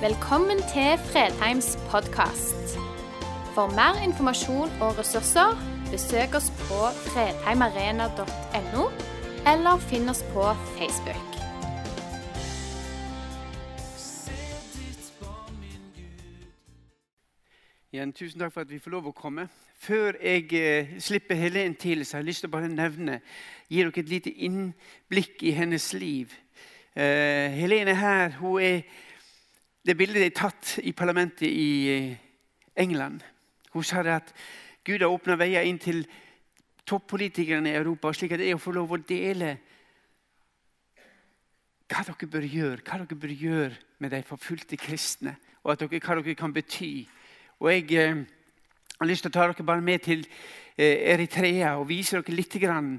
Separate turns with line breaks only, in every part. Velkommen til Fredheims podkast. For mer informasjon og ressurser, besøk oss på fredheimarena.no, eller finn oss på Facebook.
Igjen, tusen takk for at vi får lov å komme. Før jeg eh, slipper Helen til, så har jeg lyst til å bare nevne, gi dere et lite innblikk i hennes liv. Eh, Helen er her. Hun er det bildet er tatt i parlamentet i eh, England. Hun sa det at Gud har åpna veier inn til toppolitikerne i Europa, slik at jeg får lov å dele hva dere bør gjøre, hva dere bør gjøre med de forfulgte kristne, og at dere, hva dere kan bety. Og jeg eh, har lyst til å ta dere bare med til eh, Eritrea og vise dere litt. Grann.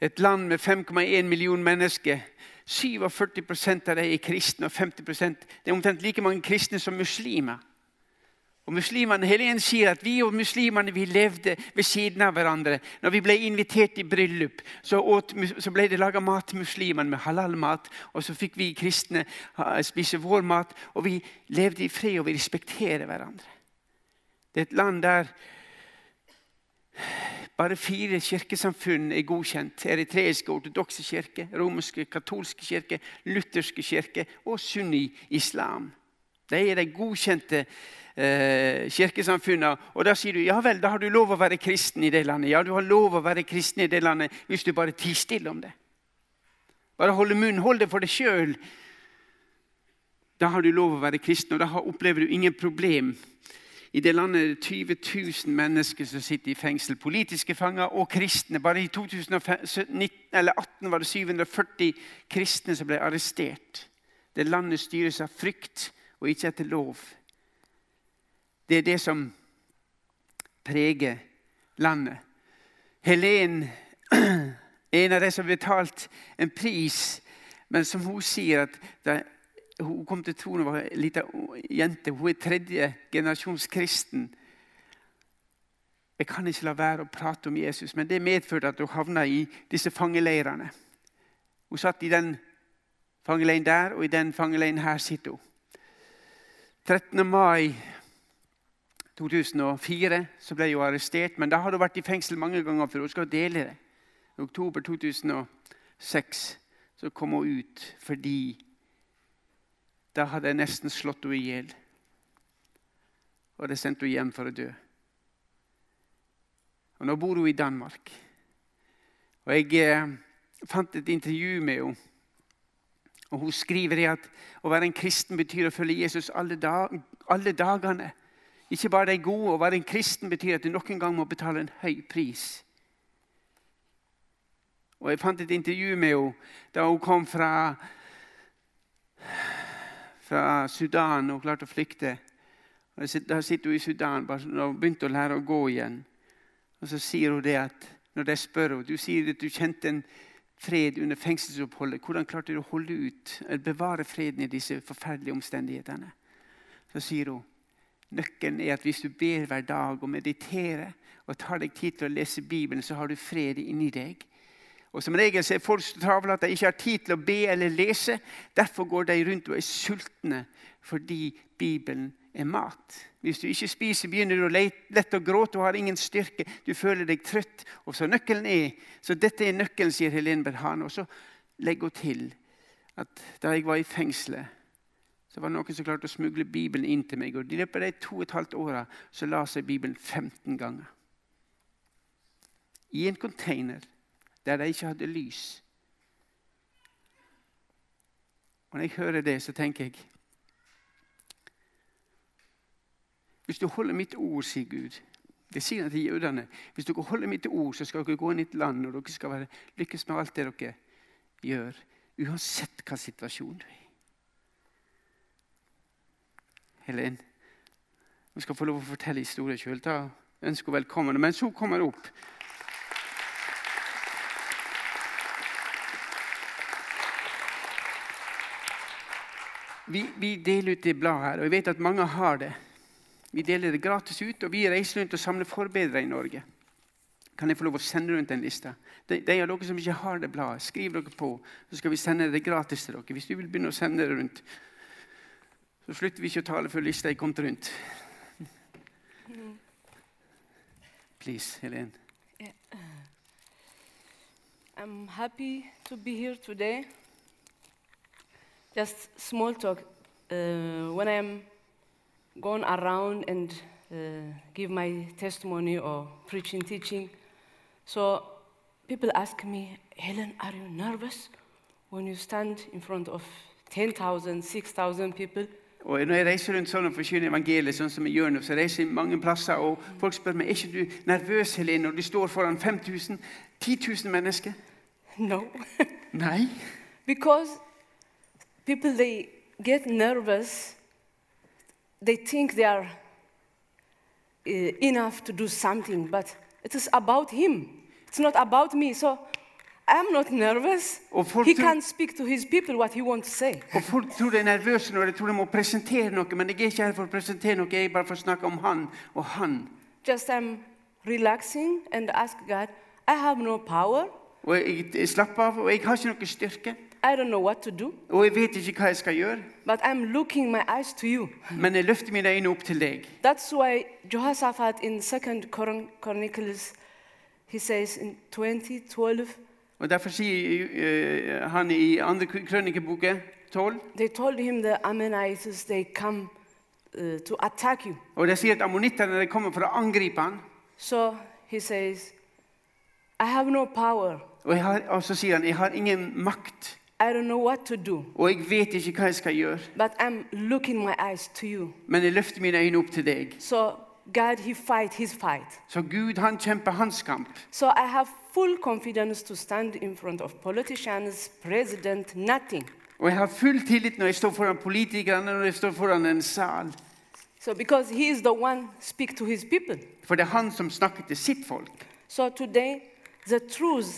Et land med 5,1 millioner mennesker. 47 av dem er kristne, og 50 Det er omtrent like mange kristne som muslimer. Og muslimene, Helen sier at Vi og muslimene vi levde ved siden av hverandre. Når vi ble invitert i bryllup, så, åt, mus- så ble det laga mat til muslimene med halalmat. Og så fikk vi kristne ha- spise vår mat. Og vi levde i fred, og vi respekterer hverandre. Det er et land der bare fire kirkesamfunn er godkjent. Eritreiske ortodokse kirke, romerske katolske kirke, lutherske kirke og sunni-islam. De er de godkjente eh, kirkesamfunnene. Og da sier du ja vel, da har du lov å være kristen i det landet. Ja, du har lov å være kristen i det landet hvis du bare tier stille om det. Bare holde munn, hold det for deg sjøl. Da har du lov å være kristen, og da har- opplever du ingen problem. I det landet er det 20 000 mennesker som sitter i fengsel. Politiske fanger og kristne. Bare i 2018 var det 740 kristne som ble arrestert. Det landet styres av frykt og ikke etter lov. Det er det som preger landet. Helen er en av de som betalte en pris, men som hun sier at da hun kom til troen og var ei lita jente. Hun er tredje generasjons kristen. Jeg kan ikke la være å prate om Jesus, men det medførte at hun havna i disse fangeleirene. Hun satt i den fangeleiren der, og i den fangeleiren her sitter hun. 13. mai 2004 så ble hun arrestert, men da hadde hun vært i fengsel mange ganger før. Hun skal dele det. I oktober 2006 så kom hun ut fordi da hadde jeg nesten slått henne i hjel. Og det sendte henne hjem for å dø. Og nå bor hun i Danmark. Og jeg eh, fant et intervju med henne. Og hun skriver det at å være en kristen betyr å følge Jesus alle, dag, alle dagene. Ikke bare de gode. Å være en kristen betyr at du nok en gang må betale en høy pris. Og jeg fant et intervju med henne da hun kom fra fra Sudan og klarte å flykte. Og sit- Da sitter hun i Sudan bare sånn, og har begynt å lære å gå igjen. Og så sier hun det at når de spør henne Du sier at du kjente en fred under fengselsoppholdet. Hvordan klarte du å holde ut, eller bevare freden i disse forferdelige omstendighetene? Så sier hun nøkkelen er at hvis du ber hver dag og mediterer og tar deg tid til å lese Bibelen, så har du fred inni deg. Og Som regel så er folk så travle at de ikke har tid til å be eller lese. Derfor går de rundt og er sultne, fordi Bibelen er mat. Hvis du ikke spiser, begynner du å le- lett å gråte og har ingen styrke. Du føler deg trøtt. Og så nøkkelen er, så Dette er nøkkelen, sier Helene Berhan. Og så legger hun til at da jeg var i fengselet, så var det noen som klarte å smugle Bibelen inn til meg. Og I løpet av de to og et halvt åra så la seg Bibelen 15 ganger. I en container der de ikke hadde lys. Og Når jeg hører det, så tenker jeg Hvis du holder mitt ord, sier Gud Det sier han til jødene. Hvis dere holder mitt ord, så skal dere gå inn i et land, og dere skal være, lykkes med alt det dere gjør. Uansett hva situasjon du er i. Helen, hun skal få lov å fortelle historien sjøl. Ønsk henne velkommen. Mens hun kommer opp, Vi, vi deler ut det bladet her, og jeg vet at mange har det. Vi deler det gratis ut, og vi reiser rundt og samler forbedrere i Norge. Kan jeg få lov å sende rundt den lista? De, de av dere som ikke har det bladet, skriv dere på, så skal vi sende det gratis til dere. Hvis du vil begynne å sende det rundt, Så slutter vi ikke å tale før lista er kommet rundt. Please, Helen.
I'm happy to be here today. Just small talk. Uh, when I'm going around and uh, give my testimony or preaching, teaching, so people ask me, Helen, are you nervous when you stand in front of 10,000, 6,000 people?
Og Når jeg reiser rundt sånn og forkynner evangeliet, sånn som jeg gjør nå, så reiser jeg mange plasser, og folk spør meg er ikke du nervøs Helen, når du står foran 5000, 10 000 mennesker.
No.
Nei.
Because people they get nervous. They think they are uh, enough to do something, but it is about him. It's not about me. So I'm not nervous.
Of course
He
you-
can speak to his people what he wants to say.
Og Folk tror de er nervøse når de tror de må presentere noe, men jeg er ikke her for å presentere noe, jeg er bare for å snakke om han og han.
Just I'm relaxing and ask God, I have no power.
Og jeg, jeg slapper av, og jeg har ikke noe styrke,
I don't know what to do,
og jeg vet ikke hva jeg skal gjøre,
but I'm looking my eyes to you.
men jeg løfter mine øyne opp til deg.
That's why Jehoshaphat in 2 Chron- Chronicles, he says in 2012,
Og Derfor sier eh, han i andre krønikeboke 12
They told him the Ammonites they come uh, to attack you.
Og de sier at ammonittene de kommer for å angripe han.
So he says, I have no power.
Og, jeg har, og så sier han jeg har ingen makt,
I don't know what to do,
og jeg vet ikke hva jeg skal gjøre,
but I'm looking my eyes to you.
men jeg løfter mine øyne opp til deg.
So God, He fight His fight.
Så Gud han kjemper hans kamp.
So I have full confidence to stand in front of politicians, president, nothing.
Og jeg har full tillit når jeg står foran politikerne når jeg står foran en sal.
So because He is the one speak to His people.
For det er han som snakker til sitt folk.
So today, the truth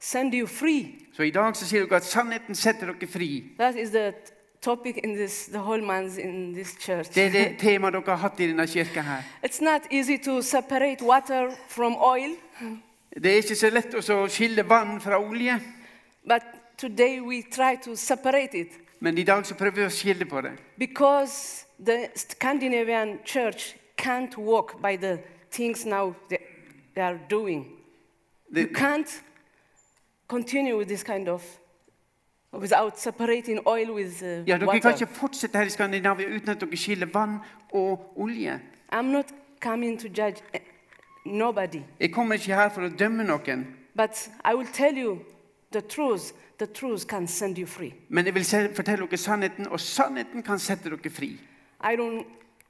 send you free.
Så i dag så sier dere at sannheten setter dere fri.
That is the t- topic in this, the whole month in this church.
Det er det temaet dere har hatt i denne kirka her.
It's not easy to separate water from oil,
Det er ikke så lett også å skille vann fra olje,
but today we try to separate it
men i dag så prøver vi å skille på det.
because the Scandinavian church can't walk by the things now they, they are doing. You
det
can't continue with this kind of without separating oil with uh,
ja, dere kan
water.
ikke fortsette her i Skandinavia uten at dere skiller vann og olje.
I'm not coming to judge eh, nobody,
Jeg kommer ikke her for å dømme noen,
but I will tell you the truth. The truth can send you free.
men jeg vil se- fortelle dere sannheten, og sannheten kan sette dere fri.
I don't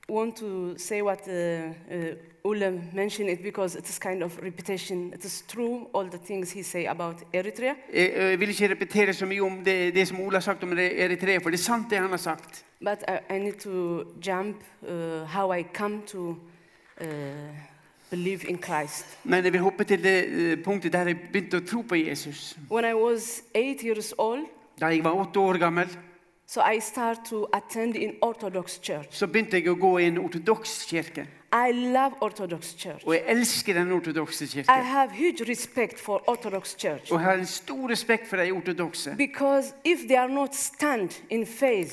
want to say what uh, uh, Ulla mentioned it because it is kind of repetition. It is true all the things he say about Eritrea,
Jeg, jeg vil ikke repetere så mye om det, det som Ola har sagt om Ere- Eritrea, for det er sant det han har sagt.
but I, I need to jump uh, how I come to uh, believe in Christ.
Men jeg vil hoppe til det eh, punktet der jeg begynte å tro på Jesus.
When I was eight years old,
Da jeg var åtte år gammel,
so I start to attend in Orthodox Church.
så begynte jeg å gå i en ortodoks kirke.
I love Orthodox Church.
Og jeg elsker den ortodokse
I
kirken.
have huge respect for Orthodox Church
Og jeg har en stor respekt for de ortodokse.
Because if they are not stand in faith,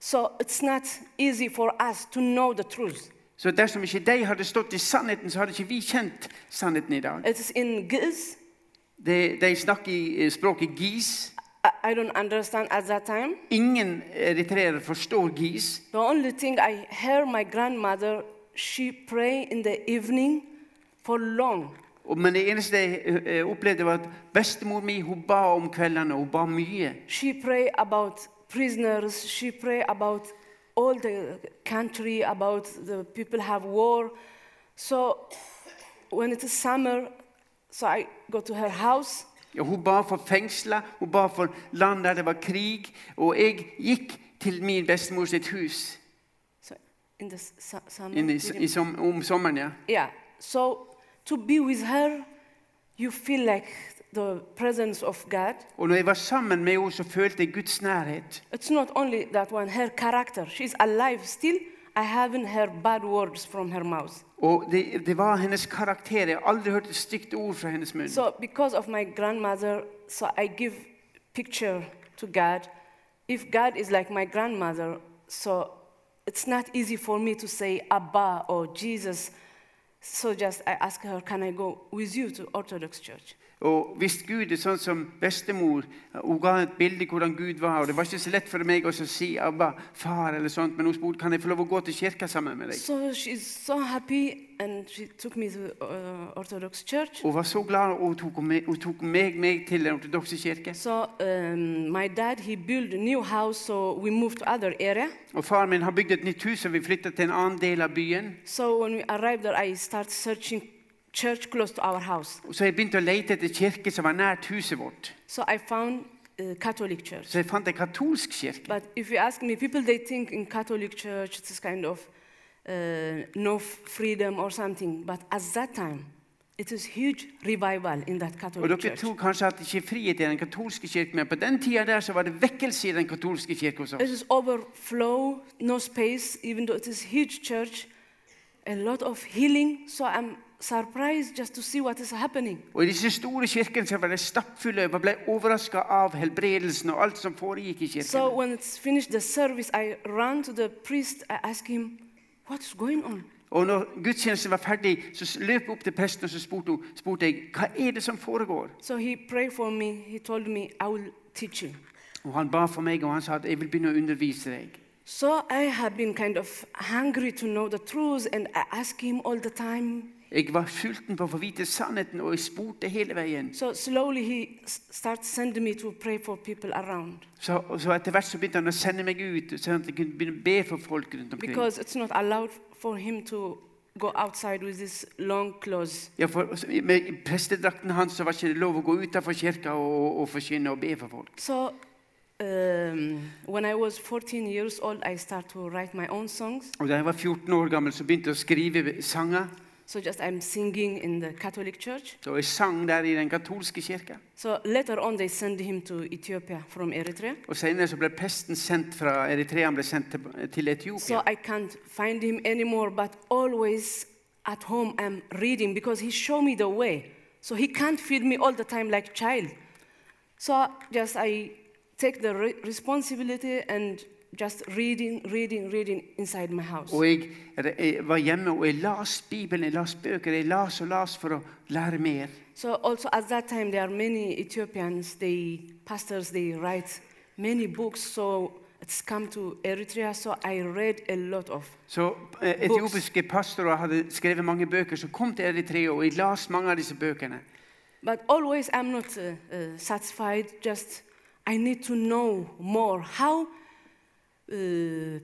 so it's not easy for us to know the truth.
Så dersom ikke de hadde stått i sannheten, så hadde ikke vi kjent sannheten i dag.
It is in Giz.
De, de snakker i eh, språket gis.
I- I don't understand at that time.
Ingen eritreere forstår gis.
The only thing I hear my grandmother, she pray in the evening for long.
Og- Men det eneste jeg eh, eh, opplevde, var at bestemor mi hun ba om kveldene, og hun ba mye.
She pray about prisoners. She pray about all the country, about the people have war. So when it is summer, so I go to her house.
Ja, hun ba for fengsla, hun ba for land der det var krig. Og jeg gikk til min bestemor sitt hus
So in the s- su- summer.
inn i,
did
i
you-
som, om sommeren. ja.
yeah. So to be with her, you feel like the presence of God.
Og når jeg var sammen med henne, så følte jeg Guds nærhet.
It's not only that one. Her character. She's alive still. I haven't heard bad words from her mouth.
Og det, det var hennes karakter. Jeg har aldri hørt et stygt ord fra hennes munn.
So because of my grandmother, so I give picture to God. If God is like my grandmother, so it's not easy for me to say Abba or Jesus. So just I asked her, can I go with you to Orthodox Church?
Og hvis Gud er sånn som bestemor Hun ga et bilde hvordan Gud var. og Det var ikke så lett for meg å så si Abba, far, eller sånt, men hun spurte kan jeg få lov å gå til kirka sammen med deg.
So she's so happy, and she took me to uh, Orthodox Church.
Hun var så glad, og hun tok meg, hun tok meg, meg til den ortodokse kirke.
So um, my dad he built a new house, so we moved to other area.
Og Faren min har bygd et nytt hus, og vi flytta til en annen del av byen.
So when we arrived there, I started searching church close to our house.
Og Så jeg begynte å lete etter kirke som var nært huset vårt.
So I found a Catholic church.
Så jeg fant en katolsk kirke.
But if you ask me, people they think in Catholic Church it's kind of uh, no f- freedom or something. But at that time, it is huge revival in that
Og
Catholic
Dere
Church.
tror kanskje at det ikke er frihet i den katolske kirken, men på den tida der så var det vekkelse i den katolske kirka hos
It
oss.
is overflow, no space, even though it is huge church, a lot of healing. So I'm surprised just to see what is happening.
Og I disse store kirkene så var det stappfulle. Man ble overraska av helbredelsen og alt som foregikk i
So
kirken.
when it's finished the service, I ran to the priest. I asked him, "What is going on?"
Og når gudstjenesten var ferdig, så s- løp jeg opp til presten og så spurte, hun, spurte jeg, hva er det som foregår.
So he prayed for me. He told me, "I will teach you."
Og Han ba for meg og han sa at jeg vil begynne å undervise deg.
So I have been kind of hungry to know the truth, and I ask him all the time.
Jeg var sulten på å få vite sannheten, og jeg spurte hele veien.
So slowly he s- starts sending me to pray for people around
Så, og så Etter hvert så begynte han å sende meg ut, sånn at jeg kunne begynne å be for folk rundt omkring.
because it's not allowed for him to go outside with this long clothes.
Ja, for Med prestedrakten hans så var ikke det lov å gå utenfor kirka og, og, og forkynne og be for folk.
So um, when I was 14 years old, I start to write my own songs.
Og Da jeg var 14 år gammel, så begynte jeg å skrive sanger.
So just I'm singing in the Catholic Church.
Så jeg sang der i den katolske kirka.
So later on, they send him to Ethiopia from Eritrea.
Og Senere så ble presten sendt fra Eritrea han ble sendt til, til Etiopia.
So I can't find him anymore, but always at home I'm reading because he showed me the way. So he can't feed me all the time like child. So just I take the re- responsibility and just reading, reading, reading inside my house.
Og jeg, jeg var hjemme og jeg las Bibelen, jeg las bøker, jeg las og las for å lære mer.
So also at that time there are many Ethiopians, they pastors, they write many books. So it's come to Eritrea. So I read a lot of
Så eh, etiopiske pastorer hadde skrevet mange bøker som kom til Eritrea, og jeg las mange av disse bøkene.
But always I'm not uh, uh, satisfied, just I need to know more how uh,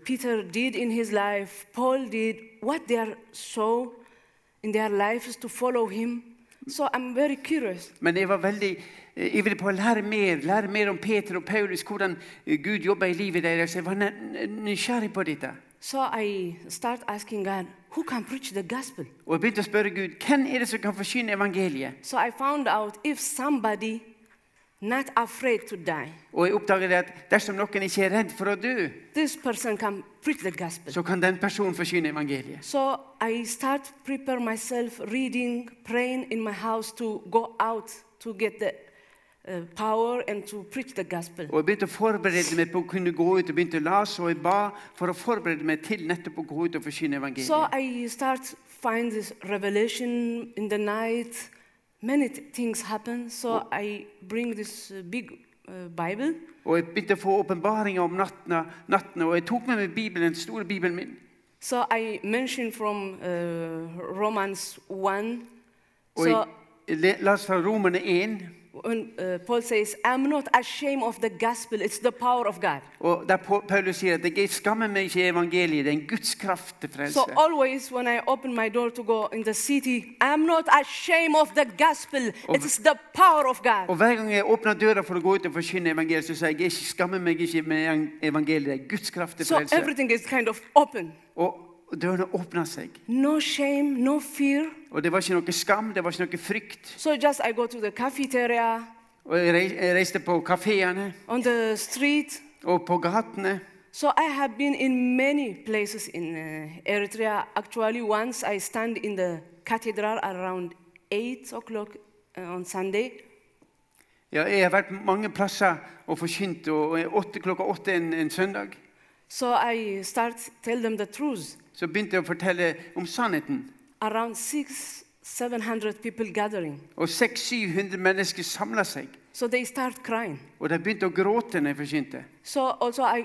Peter did in his life, Paul did, what they are so in their lives to follow him. So I'm very curious.
Men jeg var veldig eh, ivrig på å lære mer lære mer om Peter og Paulus, hvordan eh, Gud jobber i livet deres. Jeg var ne- n- nysgjerrig på dette.
So I start asking God, who can preach the gospel?
Og jeg begynte å spørre Gud hvem er det som kan forsyne evangeliet.
So I found out if somebody not afraid to die,
Og jeg oppdaget at dersom noen ikke er redd for å dø,
this person can preach the gospel.
så kan den personen forsyne evangeliet.
So I start prepare myself reading, praying in my house to go out to get the uh, power and to preach the gospel.
Og jeg begynte å forberede meg på å kunne gå ut og begynte å lese, og jeg ba for å forberede meg til nettopp å gå ut og forsyne evangeliet.
So I start find this revelation in the night. Many th- things happen. So I bring this uh, big uh, Bible.
Og jeg begynte å få åpenbaringer om nattene, nattene, og jeg tok med meg Bibelen, den store Bibelen min.
So I mention from uh, Romans 1.
Og
So
jeg le- las fra Romerne 1.
when uh, Paul says, I'm not ashamed of the gospel, it's the power of God.
Og der Pau- Paulus sier at jeg skammer meg ikke i evangeliet, det er en Guds kraft til frelse.
So always when I open my door to go in the city, I'm not ashamed of the gospel. It is the power of God.
og hver gang jeg åpner døra for å gå ut og forkynne evangeliet, så sier jeg jeg skammer meg ikke med evangeliet, det er Guds kraft til
So
frelse.
everything is kind of open.
og dørene åpna seg.
No shame, no fear.
Og det var ikke noe skam, det var ikke noe frykt.
So just I go to the cafeteria,
Og jeg rei- jeg reiste på kafeene
on the street.
og på gatene.
So I have been in many places in uh, Eritrea. Actually, once I stand in the cathedral around 8 o'clock uh, on Sunday.
Ja, jeg har vært mange plasser og forkynt, og og åtte, klokka åtte en, en søndag.
So I start tell them the truth.
Så begynte jeg å fortelle om sannheten.
Around six, seven hundred people gathering.
Og 600-700 mennesker samla seg.
So they start crying.
Og de begynte å gråte når jeg forkynte.
So also I,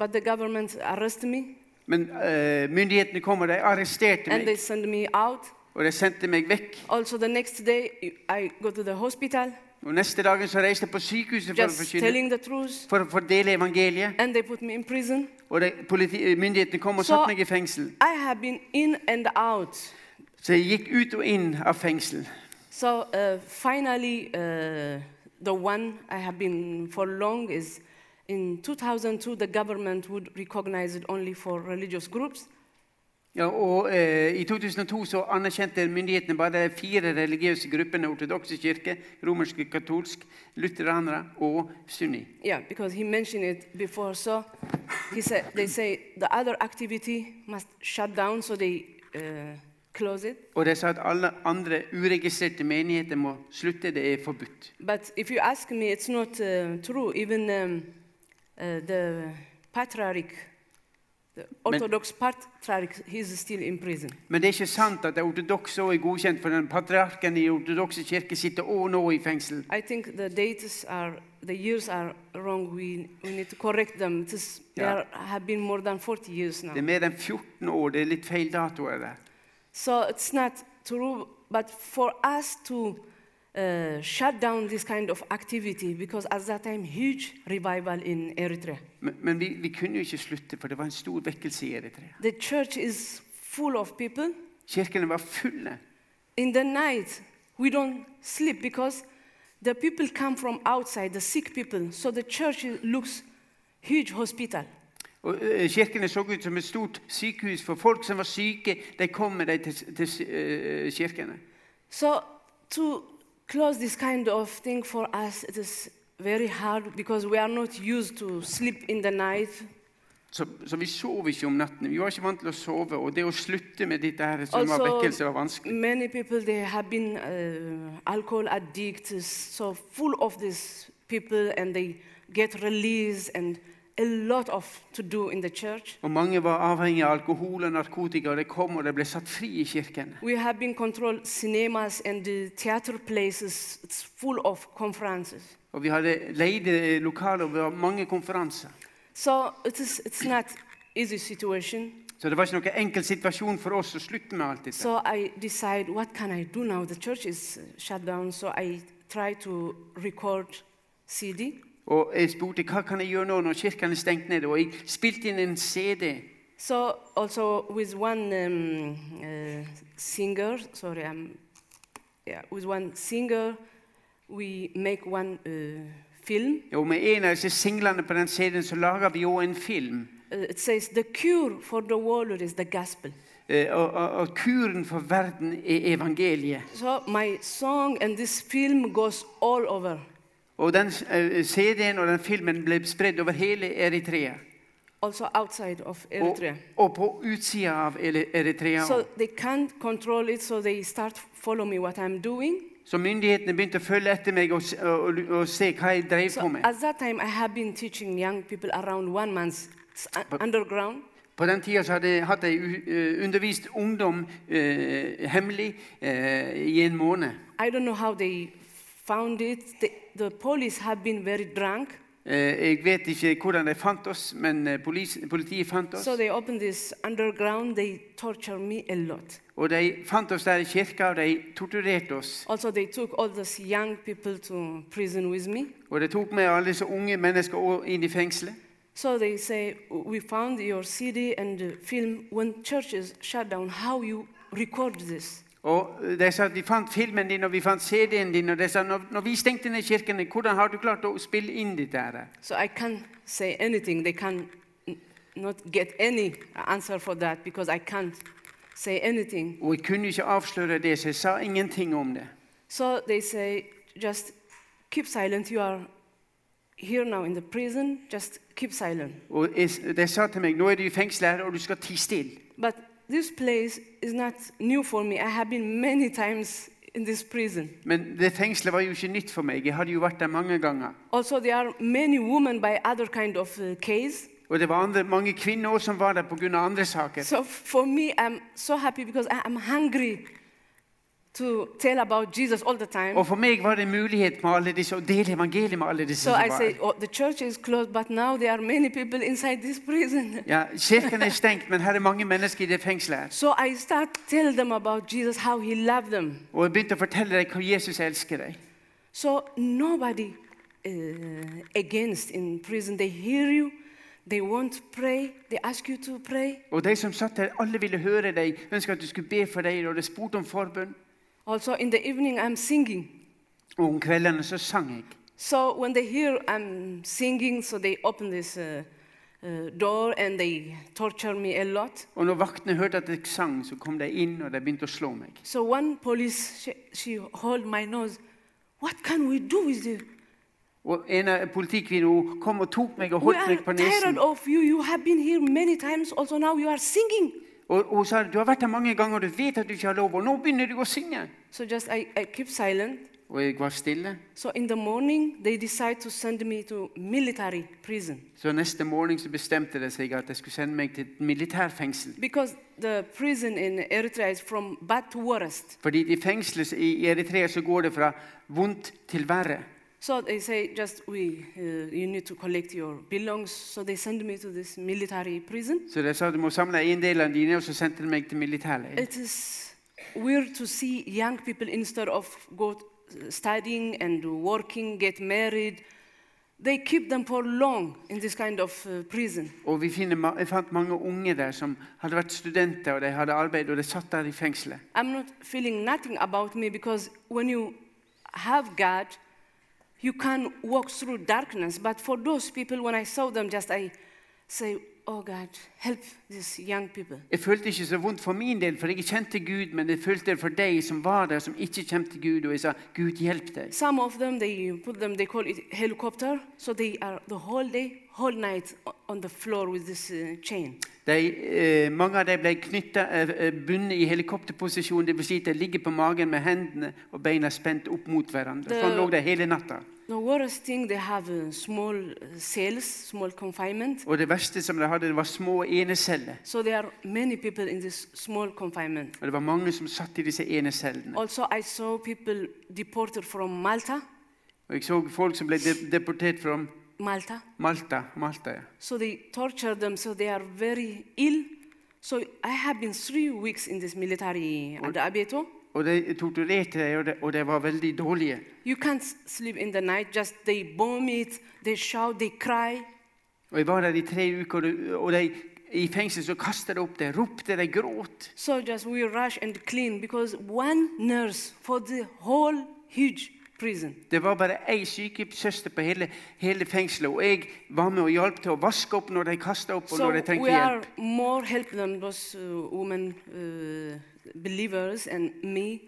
but the government arrest me
Men eh, myndighetene kom, og de arresterte
and
meg.
they send me out.
Og de sendte meg vekk.
Also the next day I go to the hospital,
Og neste dagen så reiste jeg på sykehuset for å
just
forkynne.
telling the truth,
For å fordele evangeliet.
and they put me in prison.
Og de, politi, myndighetene kom og
Så-
satte meg i fengsel.
I have been in and out.
Så jeg gikk ut og inn av fengsel.
So uh, finally, uh, the one I have been for long is in 2002. The government would recognize it only for religious groups.
Ja, og eh, I 2002 så anerkjente myndighetene bare de fire religiøse gruppene. Ortodokse kirke, romerske katolsk, lutheranere og sunni.
Yeah, because he mentioned it before. So he said they say the other activity must shut down, so they uh, close it.
Og de sa at alle andre uregistrerte menigheter må slutte, det er forbudt.
But if you ask me, it's not uh, true. Even um, uh, the patriarch, the Orthodox patriarch, he's still in prison.
Men det er ikke sant at de ortodokse også er godkjent, for den patriarken i ortodokse kirke sitter også nå i fengsel.
I think the dates are, the years are wrong. We, we need to correct them. It is,
Yeah.
There have been more than 40 years now.
Det er mer enn 14 år. Det er litt feil datoer der.
So it's not true, but for us to uh, shut down this kind of activity, because at that time, huge revival in Eritrea.
Men, men vi, vi kunne jo ikke slutte, for det var en stor vekkelse i Eritrea.
The church is full of people.
Kirkene var fulle.
In the night, we don't sleep because the people come from outside, the sick people. So the church looks huge hospital.
Og eh, Kirkene så ut som et stort sykehus for folk som var syke. De kom med dem til, til eh, kirkene.
So to close this kind of thing for us, it is very hard because we are not used to sleep in the night.
Så, så vi sov ikke om natten. Vi var ikke vant til å sove. Og det å slutte med dette her som var
Also,
vekkelse, var vanskelig.
many people they have been uh, alcohol addicts, so full of these people, and they get released and a lot of to do in the church.
Og mange var avhengig av alkohol og narkotika, og de kom og de ble satt fri i kirkene.
We have been controlled cinemas and the theater places. It's full of conferences.
Og vi hadde leide lokaler, og det var mange konferanser.
So it is, it's not easy situation.
Så det var ikke noen enkel situasjon for oss å slutte med alt dette.
So I decide what can I do now? The church is uh, shut down, so I try to record CD.
Og jeg spurte hva kan jeg gjøre nå når kirken er stengt ned. Og jeg spilte inn en CD.
So also with one um, uh, singer, sorry, I'm, yeah, with one singer, we make one uh, film.
Og med en av disse singlene på den CD-en så laga vi jo en film.
Uh, it says the cure for the world is the gospel.
Eh, Og, og, og kuren for verden er evangeliet.
So my song and this film goes all over.
Og den eh, CD-en og den filmen ble spredd over hele Eritrea.
Also outside of
Og,
Eritrea.
og på utsida av Ele- Eritrea.
So they can't control it, so they start follow me what I'm doing.
Så myndighetene begynte å følge etter meg og, s- og, og se hva jeg drev på
So
med.
at that time, I have been teaching young people around one month s- u-
But-
underground.
På den tida så hadde jeg hatt ei u- eh, undervist ungdom eh, hemmelig eh, i en måned.
I don't know how they found it. The, the police have been very drunk,
Eh, jeg vet ikke hvordan de fant oss, men eh, polis, politiet fant oss.
so they opened this underground. They torture me a lot.
Og de fant oss der i kirka, og de torturerte oss.
Also, they took all these young people to prison with me.
Og de tok med alle disse unge mennesker også inn i fengselet.
So they say, "We found your CD and uh, film when churches shut down. How you record this?"
Og de sa at vi fant filmen din, og vi fant CD-en din, og de sa når, når vi stengte ned kirkene, hvordan har du klart å spille inn dette her?
So I can't say anything. They can n- not get any answer for that because I can't say anything.
Og jeg kunne ikke avsløre det, så jeg sa ingenting om det.
So they say, just keep silent. You are here now in the prison. Just keep silent.
Og jeg, de sa til meg, nå er du i fengsel her, og du skal tie stille.
But this place is not new for me. I have been many times in this prison.
Men det fengselet var jo ikke nytt for meg, jeg hadde jo vært der mange ganger.
Also, there are many women by other kind of uh, case.
Og det var andre, mange kvinner også som var der pga. andre saker.
So for me, I'm so happy because I am hungry to tell about Jesus all the time.
Og for meg var det en mulighet med alle disse, å dele evangeliet med alle disse
So
som
I
var
say,
her.
oh, the church is closed, but now there are many people inside this prison.
Ja, Kirken er stengt, men her er mange mennesker i det fengselet. her.
So I start tell them about Jesus, how he loved them.
Og jeg begynte å fortelle deg hvor Jesus elsker deg.
So nobody uh, against in prison. They hear you. They want to pray. They ask you to pray.
Og de som satt der, alle ville høre deg, ønsket at du skulle be for deg, og de spurte om forbønn.
Also in the evening, I'm singing.
Og om kveldene så sang jeg.
So when they hear I'm singing, so they open this uh, uh, door and they torture me a lot.
Og når vaktene hørte at jeg sang, så kom de inn, og de begynte å slå meg.
So one police, she, she hold my nose. What can we do with you?
Og en av politikvinnene hun kom og tok meg og
We
holdt
are
meg på nesen.
tired of you. You have been here many times. Also now you are singing.
Og og hun sa du har vært her mange ganger, og du vet at du ikke har lov, og nå begynner du å synge.
So just I, I keep silent.
Og jeg var stille.
So in the morning they decide to send me to military prison
Så neste morgen så bestemte det seg at jeg skulle sende meg til et militærfengsel.
because the prison in Eritrea is from bad to worst.
Fordi i fengselet i Eritrea så går det fra vondt til verre.
So they say, just we, uh, you need to collect your belongings. So they send me to this military prison.
Så de sa du må samle eiendelene dine, og så sendte de meg til militærleir.
It is weird to see young people instead of go t- studying and working, get married. They keep them for long in this kind of uh, prison.
Og vi finner, ma- jeg fant mange unge der som hadde vært studenter, og de hadde arbeid, og de satt der i fengselet.
I'm not feeling nothing about me because when you have God, you can walk through darkness. But for those people, when I saw them, just I say, Oh God, help these young people.
Jeg følte ikke så vondt for min del, for jeg kjente Gud, men jeg følte det for deg som var der, som ikke kjente Gud, og jeg sa, Gud, hjelp deg.
Some of them, they put them, they call it helicopter. So they are the whole day, whole night o- on the floor with this uh, chain.
De, eh, mange av dem ble knyttet, eh, eh, bundet i helikopterposisjon, det vil si at de ligger på magen med hendene og beina spent opp mot hverandre.
Det-
Sånn lå de hele natta.
The worst thing, they have uh, small uh, cells, small confinement.
Og det verste som de hadde, det var små eneceller.
So there are many people in this small confinement.
Og det var mange som satt i disse enecellene.
Also, I saw people deported from Malta.
Og jeg så folk som ble de deportert fra
Malta.
Malta. Malta, ja.
So they torture them, so they are very ill. So I have been three weeks in this military at Abeto.
Og de torturerte dem, og, de, og de var veldig dårlige.
You can't s- sleep in the night, just they bomb it, they shout, they cry.
Og jeg var der i tre uker, og de- og de, i fengsel så kastet de opp det, ropte, de gråt.
So just we rush and clean because one nurse for the whole huge prison.
Det var bare ei sykesøster på hele, hele fengselet, og jeg var med og hjalp til å vaske opp når de kastet opp, og
So
når de trengte
we are
hjelp.
more help than those uh, women uh, believers and me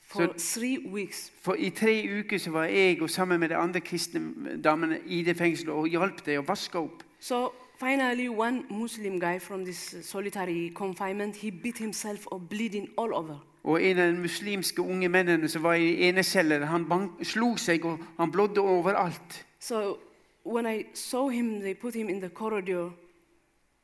for
So-
three weeks.
For i tre uker så var jeg og sammen med de andre kristne damene i det fengselet og hjalp dem å vaske opp.
So finally, one Muslim guy from this uh, solitary confinement, he beat himself or bleeding all over.
Og en av de muslimske unge mennene som var i eneceller, han bank, slo seg, og han blådde overalt.
So when I saw him, they put him in the corridor.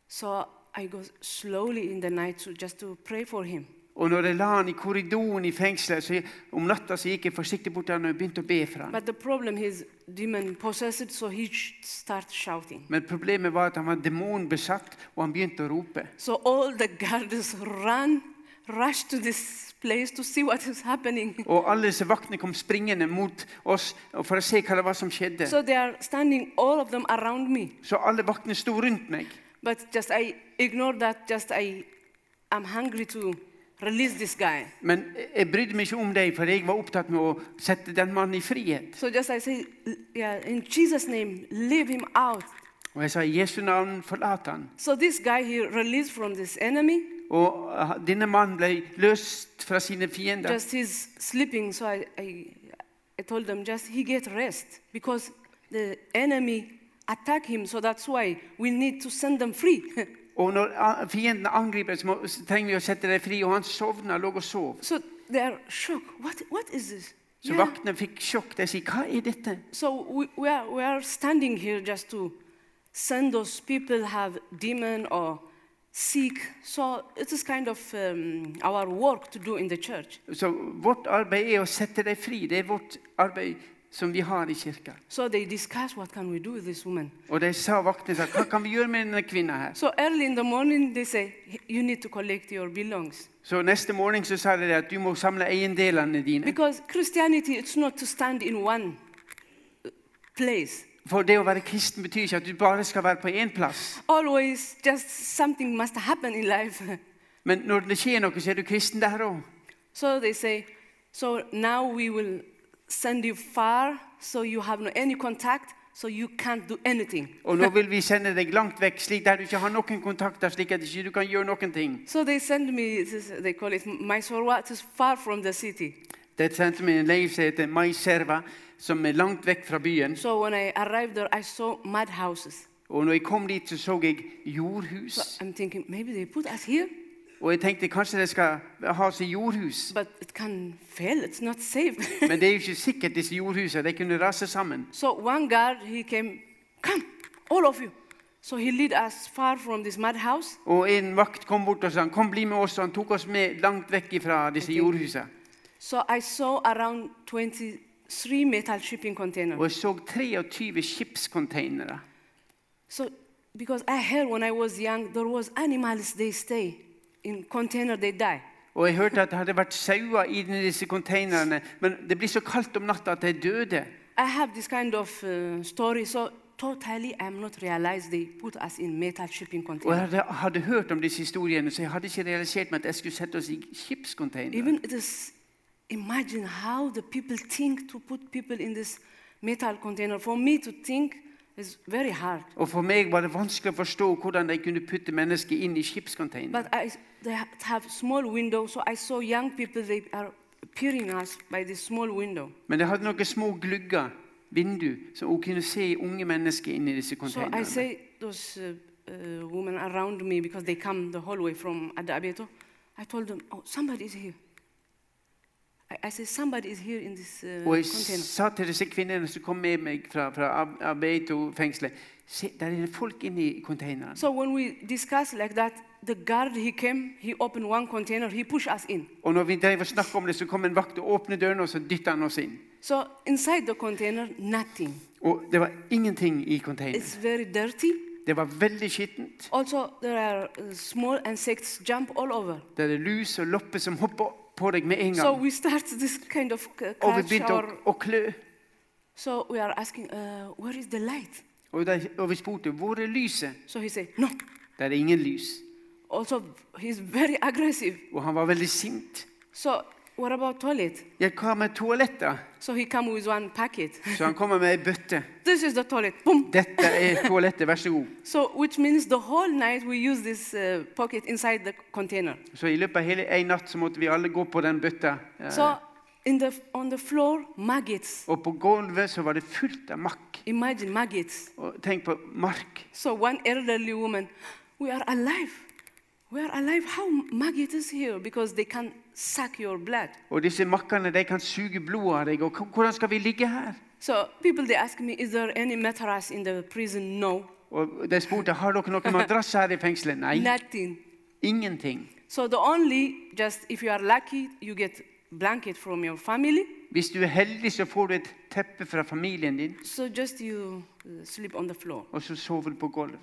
So I go slowly in the night to just to pray for him.
Og når jeg la han i korridoren i fengselet, så om natta så gikk jeg forsiktig bort til han og begynte å be for han.
But the problem, he's demon possessed, so he sh- starts shouting.
Men problemet var at han var demonbesatt, og han begynte å rope.
So all the guards run, rush to this place to see what is happening.
Og alle disse vaktene kom springende mot oss og for å se hva det var som skjedde.
So they are standing, all of them around me.
Så alle vaktene sto rundt meg.
But just I ignore that. Just I, I'm hungry to release this guy.
Men jeg brydde meg ikke om deg, for jeg var opptatt med å sette den mannen i frihet.
So just I say, "L- yeah, in Jesus' name, leave him out.
Og jeg sa i Jesu navn, forlat han.
So this guy he released from this enemy.
Og eh, denne mannen ble løst fra sine fiender.
Just he's sleeping. So I, I, I told them just he get rest because the enemy attack him. So that's why we need to send them free.
Og når eh, fienden angriper, så må- så trenger vi å sette deg fri. Og han sovna, lå og sov.
so they are shocked. What what is this?
Så
Yeah.
vaktene fikk sjokk. De sier 'hva er dette?'
So we, we, are, we are standing here just to send those people have demon or sick. So it is kind of um, our work to do in the church.
Så vårt arbeid er å sette dem fri. Det er vårt arbeid som vi har i kirka.
So they discuss what can we do with this woman.
Og de sa vaktene sa, hva kan vi gjøre med denne kvinna her?
So early in the morning they say you need to collect your belongings
Så neste morgen så sa de at du må samle eiendelene dine.
because Christianity it's not to stand in one uh, place.
For det å være kristen betyr ikke at du bare skal være på én plass.
Always just something must happen in life.
Men når det skjer noe, så er du kristen der òg.
So they say, so now we will send you far, so you have no any contact, so you can't do anything.
Og nå vil vi sende deg langt vekk, slik der du ikke har noen kontakter, slik at ikke du ikke kan gjøre noen ting.
So they send me, this is- they call it Mysore, it is far from the city.
De sendte meg en leir som heter Maiserva, som er langt vekk fra byen.
So when I arrived there, I saw mud houses.
Og når jeg kom dit, så så jeg jordhus.
So I'm thinking, maybe they put us here,
Og jeg tenkte kanskje de skal ha seg jordhus.
but it can fail, it's not safe.
Men det er jo ikke sikkert, disse jordhusene. De kunne rase sammen.
so one guard, he came, come, all of you. So he lead us far from this mud house.
Og en vakt kom bort og sa kom bli med oss. Og han tok oss med langt vekk fra disse jordhusene.
So I saw around 23 metal shipping containers.
Og jeg så 23 skipskonteinere.
So, because I heard when I was young, there was animals they stay in container, they die.
Og jeg hørte at det hadde vært sauer i disse konteinerne. Men det blir så kaldt om natta at de døde.
I have this kind of uh, story, so totally I'm not realized they put us in metal shipping
Og jeg
container.
hadde, hadde hørt om disse historiene, så jeg hadde ikke realisert meg at jeg skulle sette oss i skipskonteinere.
Even it is, imagine how the people think to put people in this metal container. For me to think is very hard.
Og for meg var det vanskelig å forstå hvordan de kunne putte mennesker inn i skipskonteinere.
But I, they ha- have small window, so I saw young people, they are peering us by this small window.
Men de hadde noen små glugger, vindu, så hun kunne se unge mennesker inn i disse
So I
konteinerne.
say those uh, uh, women around me because they come the whole way from Adabieto. I told them, oh, somebody is here. I, I say somebody is here in this uh,
Og jeg
container.
sa til disse kvinnene som kom med meg fra, fra Ab- Abeito-fengselet Se, der er det folk inne i konteineren.
So when we discuss like that, the guard he came, he opened one container, he pushed us in.
Og når vi drev og snakket om det, så kom en vakt og åpnet dørene, og så dyttet han oss inn.
So inside the container, nothing.
Og det var ingenting i konteineren.
It's very dirty.
Det var veldig skittent.
Also, there are uh, small insects jump all over.
Det er lus og lopper som hopper på deg med en
So
gang.
we start this kind of c-
Og vi
clutch
begynte å,
or
å klø.
so we are asking, uh, where is the light?
Og, de, og vi spurte hvor er lyset.
So he said, no,
Der er ingen lys.
also he's very aggressive.
Og han var veldig sint.
So what about toilet?
Ja, hva med toalettet?
So he come with one packet.
Så han kommer med ei bøtte.
This is the toilet. Boom.
Dette er toalettet, vær så god.
So which means the whole night we use this uh, pocket inside the container.
Så i løpet av hele en natt så måtte vi alle gå på den bøtta. eh,
So in the on the floor maggots.
Og på gulvet så var det fullt av makk.
Imagine maggots.
Og tenk på mark.
So one elderly woman, we are alive. We are alive. How maggot is here because they can suck your blood.
Og disse makkene de kan suge blodet av deg. Og k- hvordan skal vi ligge her?
So people they ask me, is there any mattress in the prison? No,
Og de spurte har dere noen madrass her i fengselet. Nei,
nothing.
ingenting.
So the only, just if you are lucky, you get blanket from your family.
Hvis du er heldig, så får du et teppe fra familien din,
So just you uh, sleep on the floor.
og så sover du på gulvet.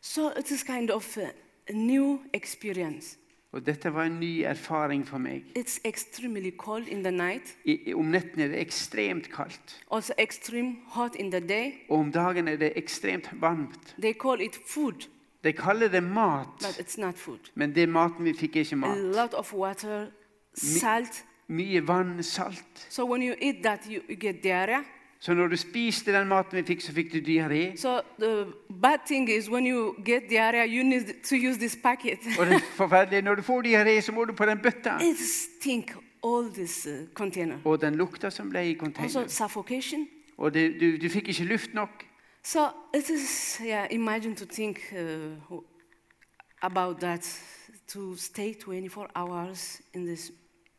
So it is kind of uh, a new experience.
Og dette var en ny erfaring for meg.
It's extremely cold in the night,
I, i- om netten er det ekstremt kaldt,
also extreme hot in the day.
og om dagen er det ekstremt varmt.
They call it food,
De kaller det
but
mat,
it's not food.
men det maten vi fikk, er ikke
A
mat.
lot of water, salt.
Mye vann, salt.
So when you eat that, you, you get diarrhea.
Så når du spiste den maten vi fikk, så fikk du diaré.
So the bad thing is when you get diarrhea, you need to use this packet.
Og det forferdelige, når du får diaré, så må du på den bøtta.
it stink all this uh, container.
Og den lukta som ble i
also
containeren.
suffocation.
Og det, du, du fikk ikke luft nok.
So it is, yeah, imagine to think uh, who- about that, to stay 24 hours in this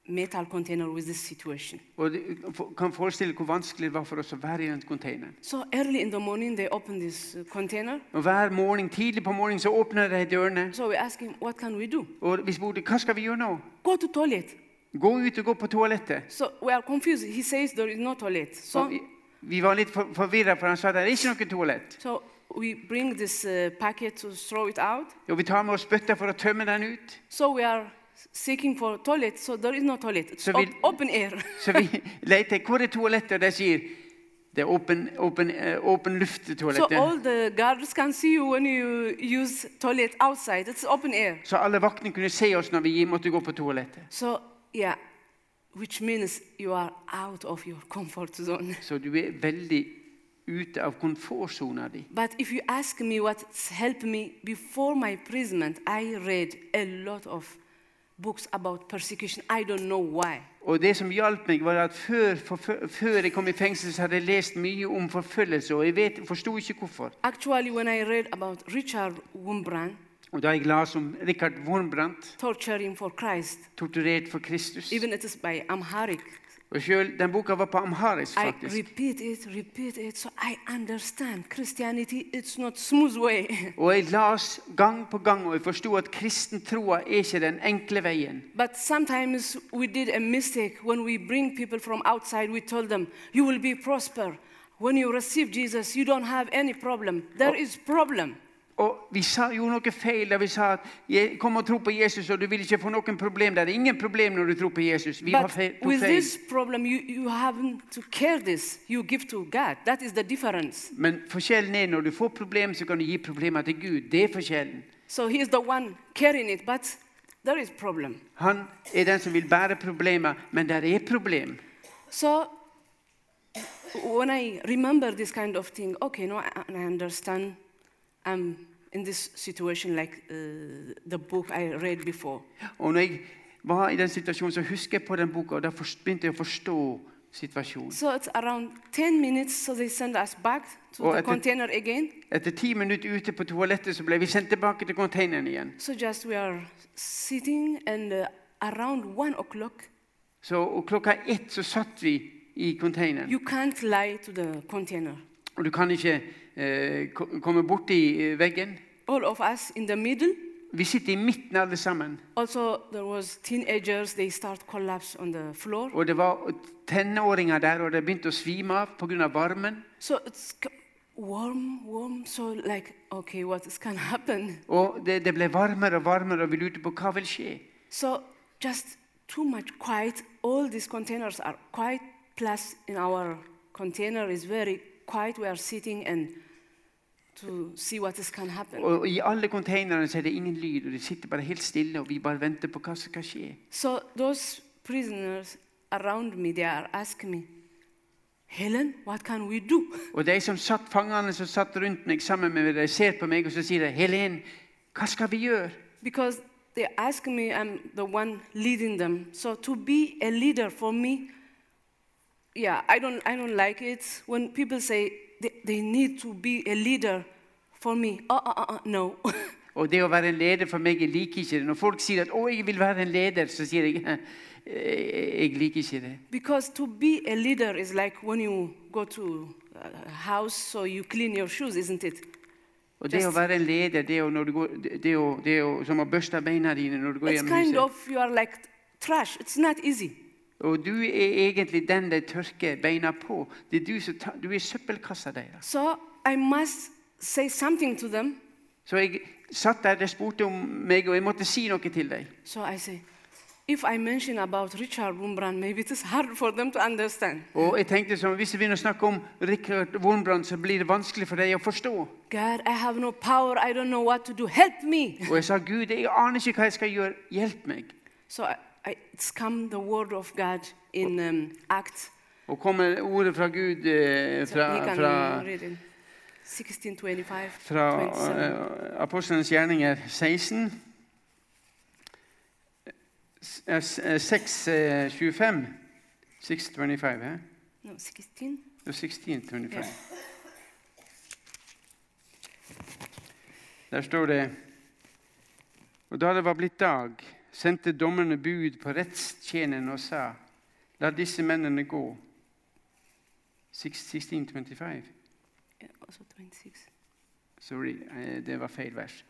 metal container with this situation.
Og du kan forestille hvor vanskelig det var for oss å være i den containeren.
So early in the morning, they opened this uh, container.
Og hver morgen, Tidlig på morgenen så åpner de dørene.
So we asked him, what can we do?
Og vi spurte hva skal vi gjøre nå.
Go to toilet.
Gå ut og gå på toalettet.
So we are confused. He says there is no toilet.
Og
So,
vi, vi var litt for- forvirra, for han sa det er ikke noe toalett.
so we bring this uh, packet to throw it out.
Og vi tar med oss bøtta for å tømme den ut.
So we are seeking for toilet. So there is no toilet. It's
So
op-
we-
open air.
Så vi leter hvor er toalettet, og de sier det er åpen, åpen, eh, åpen
so
lufttoalettet.
all the guards can see you when you use toilet outside. It's open air.
Så alle vaktene kunne se oss når vi måtte gå på toalettet.
So yeah, which means you are out of your comfort zone.
Så du er veldig ute av komfortsona di.
But if you ask me what's helped me before my imprisonment, I read a lot of books about persecution. I don't know why.
Og det som hjalp meg, var at før, forfø- før jeg kom i fengsel, så hadde jeg lest mye om forfølgelse, og jeg vet, forsto ikke hvorfor.
Actually, when I read about Richard Wurmbrand
Og da jeg leste om Richard Wormbrandt,
torturing for Christ,
torturert for Kristus
even it is by Amharic,
Og selv, Den boka var på amharisk,
I
faktisk.
repeat it, repeat it, so I understand Christianity. It's not smooth way,
Og jeg las gang på gang, og jeg forsto at kristentroa er ikke den enkle veien.
but sometimes we did a mistake when we bring people from outside. We told them, "You will be prosper when you receive Jesus. You don't have any problem. There is problem."
Og vi sa, gjorde noe feil da vi sa at «Je- kom og tro på Jesus, og du vil ikke få noen problem. Det er ingen problem når du tror på Jesus. Vi var
But
feil, tok
with
feil.
this problem, you, you haven't to care this. You give to God. That is the difference.
Men forskjellen er når du får problem, så kan du gi problemer til Gud. Det er forskjellen.
So he is the one carrying it, but there is problem.
Han er den som vil bære problemer, men der er problem.
So when I remember this kind of thing, okay, no, I, I understand. I'm in this situation like uh, the book I read before.
Og når jeg var i den situasjonen, så husker jeg på den boka, og da forst- begynte jeg å forstå situasjonen.
So it's around 10 minutes, so they send us back to
Oh,
the
I think-
container again.
Etter ti minutter ute på toalettet så ble vi sendt tilbake til containeren igjen.
So just we are sitting, and uh, around 1 o'clock,
Så, og klokka ett så satt vi i containeren.
You can't lie to the container.
Og du kan ikke eh, ko- komme borti eh, veggen.
All of us in the middle.
Vi sitter i midten alle sammen.
Also, there was teenagers. They start collapse on the floor.
Og det var tenåringer der, og de begynte å svime av pga. varmen.
So it's c- warm, warm. So like, okay, what is can happen?
Og det, det ble varmere og varmere, og vi lurte på hva vil skje.
So just too much quiet. All these containers are quiet. Plus, in our container is very quiet. We are sitting and to see what is can happen.
Og I alle containerne så er det ingen lyd, og de sitter bare helt stille, og vi bare venter på hva som skal skje.
So those prisoners around me, they are asking me, Helen, what can we do?
Og de som satt fangene som satt rundt meg sammen med meg, de ser på meg og så sier de, 'Helen, hva skal vi gjøre?'
because they ask me i'm the one leading them so to be a leader for me yeah i don't i don't like it when people say they, they need to be a leader for me uh, uh, uh, uh, no
Og det å være en leder for meg, jeg liker ikke det. Når folk sier at 'Å, jeg vil være en leder', så sier jeg «Eh, jeg liker ikke det.
because to be a leader is like when you go to a house so you clean your shoes isn't it
Og det å være en leder, det å, når du går, det å, det å, som å børste beina dine når du går
it's
gjennom
kind
huset.
of you are like trash it's not easy
Og du er egentlig den de tørker beina på. Det er du, som ta, du er søppelkassa deres.
so i must say something to them
Så jeg satt der, de spurte om meg, og jeg måtte si noe til dem.
So I say, if I mention about Richard Wurmbrand, maybe it is hard for them to understand.
Og jeg tenkte sånn, Hvis vi begynner å snakke om Richard Wormbrand, så blir det vanskelig for dem å forstå.
God, I have no power. I don't know what to do. Help me.
Og jeg sa, Gud, jeg aner ikke hva jeg skal gjøre. Hjelp meg.
So I, I, it's come the word of God in um, Acts.
Og kommer ordet fra Gud eh,
So
fra,
he can
fra,
read in 1625,
fra uh,
27.
eh, Apostlenes gjerninger 16, S- eh, s- eh, 6, eh, 25. 625, eh?
no, 16.
Det er 1625. Der står det Og da det var blitt dag, sendte dommerne bud på rettstjeneren og sa, la disse mennene gå. 1625.
Yeah, also 26.
Sorry, eh, det var feil vers.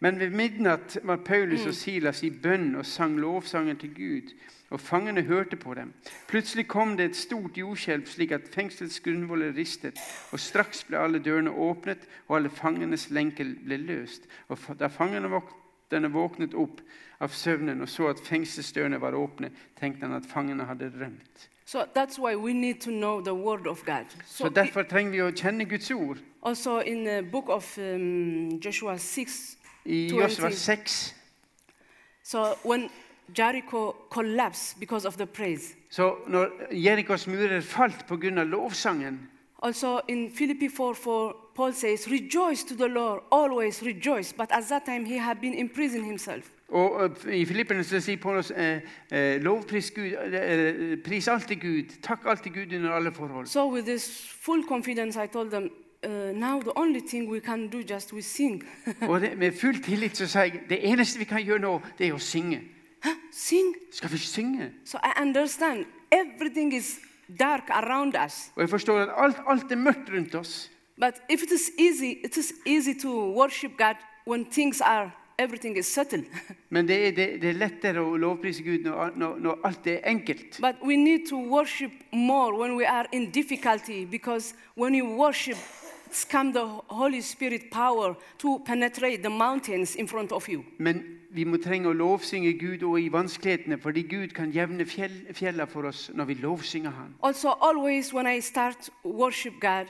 Men ved midnatt var Paulus og Silas i bønn og sang lovsanger til Gud, og fangene hørte på dem. Plutselig kom det et stort jordskjelv, slik at fengselets grunnvoller ristet, og straks ble alle dørene åpnet, og alle fangenes lenker ble løst. Og fa- da fangene vokterne våknet opp av søvnen og så at fengselsdørene var åpne, tenkte han at fangene hadde rømt.
So that's why we need to know the Word of God.
Så
i-
derfor trenger vi å kjenne Guds ord.
also in the book of um, Joshua 6,
I
20.
Josva 6
so when Jericho collapsed because of the praise.
Så når Jerikos murer falt pga. lovsangen,
Also in Philippi 4, 4, Paul says, Rejoice to the Lord, always rejoice. But at that time he had been in prison himself.
og eh, i Filippene så sier Paulus eh, eh, lovpris Gud, eh, eh, pris alltid Gud, takk alltid Gud under alle forhold.
So with this full confidence, I told them, uh, now the only thing we can do just we sing.
Og det, med full tillit så sier jeg det eneste vi kan gjøre nå, det er å synge.
sing.
Skal vi synge?
So I understand everything is dark around us.
Og jeg forstår at alt, alt er mørkt rundt oss.
But if it is easy, it is easy to worship God when things are, everything is settled.
Men det er, det, det er lettere å lovprise Gud når, al- når, når alt er enkelt.
but we need to worship more when we are in difficulty because when you worship, it's come the Holy Spirit power to penetrate the mountains in front of you.
Men vi må trenge å lovsynge Gud og i vanskelighetene, fordi Gud kan jevne fjell, fjellene for oss når vi lovsynger Han.
Also, always when I start worship God,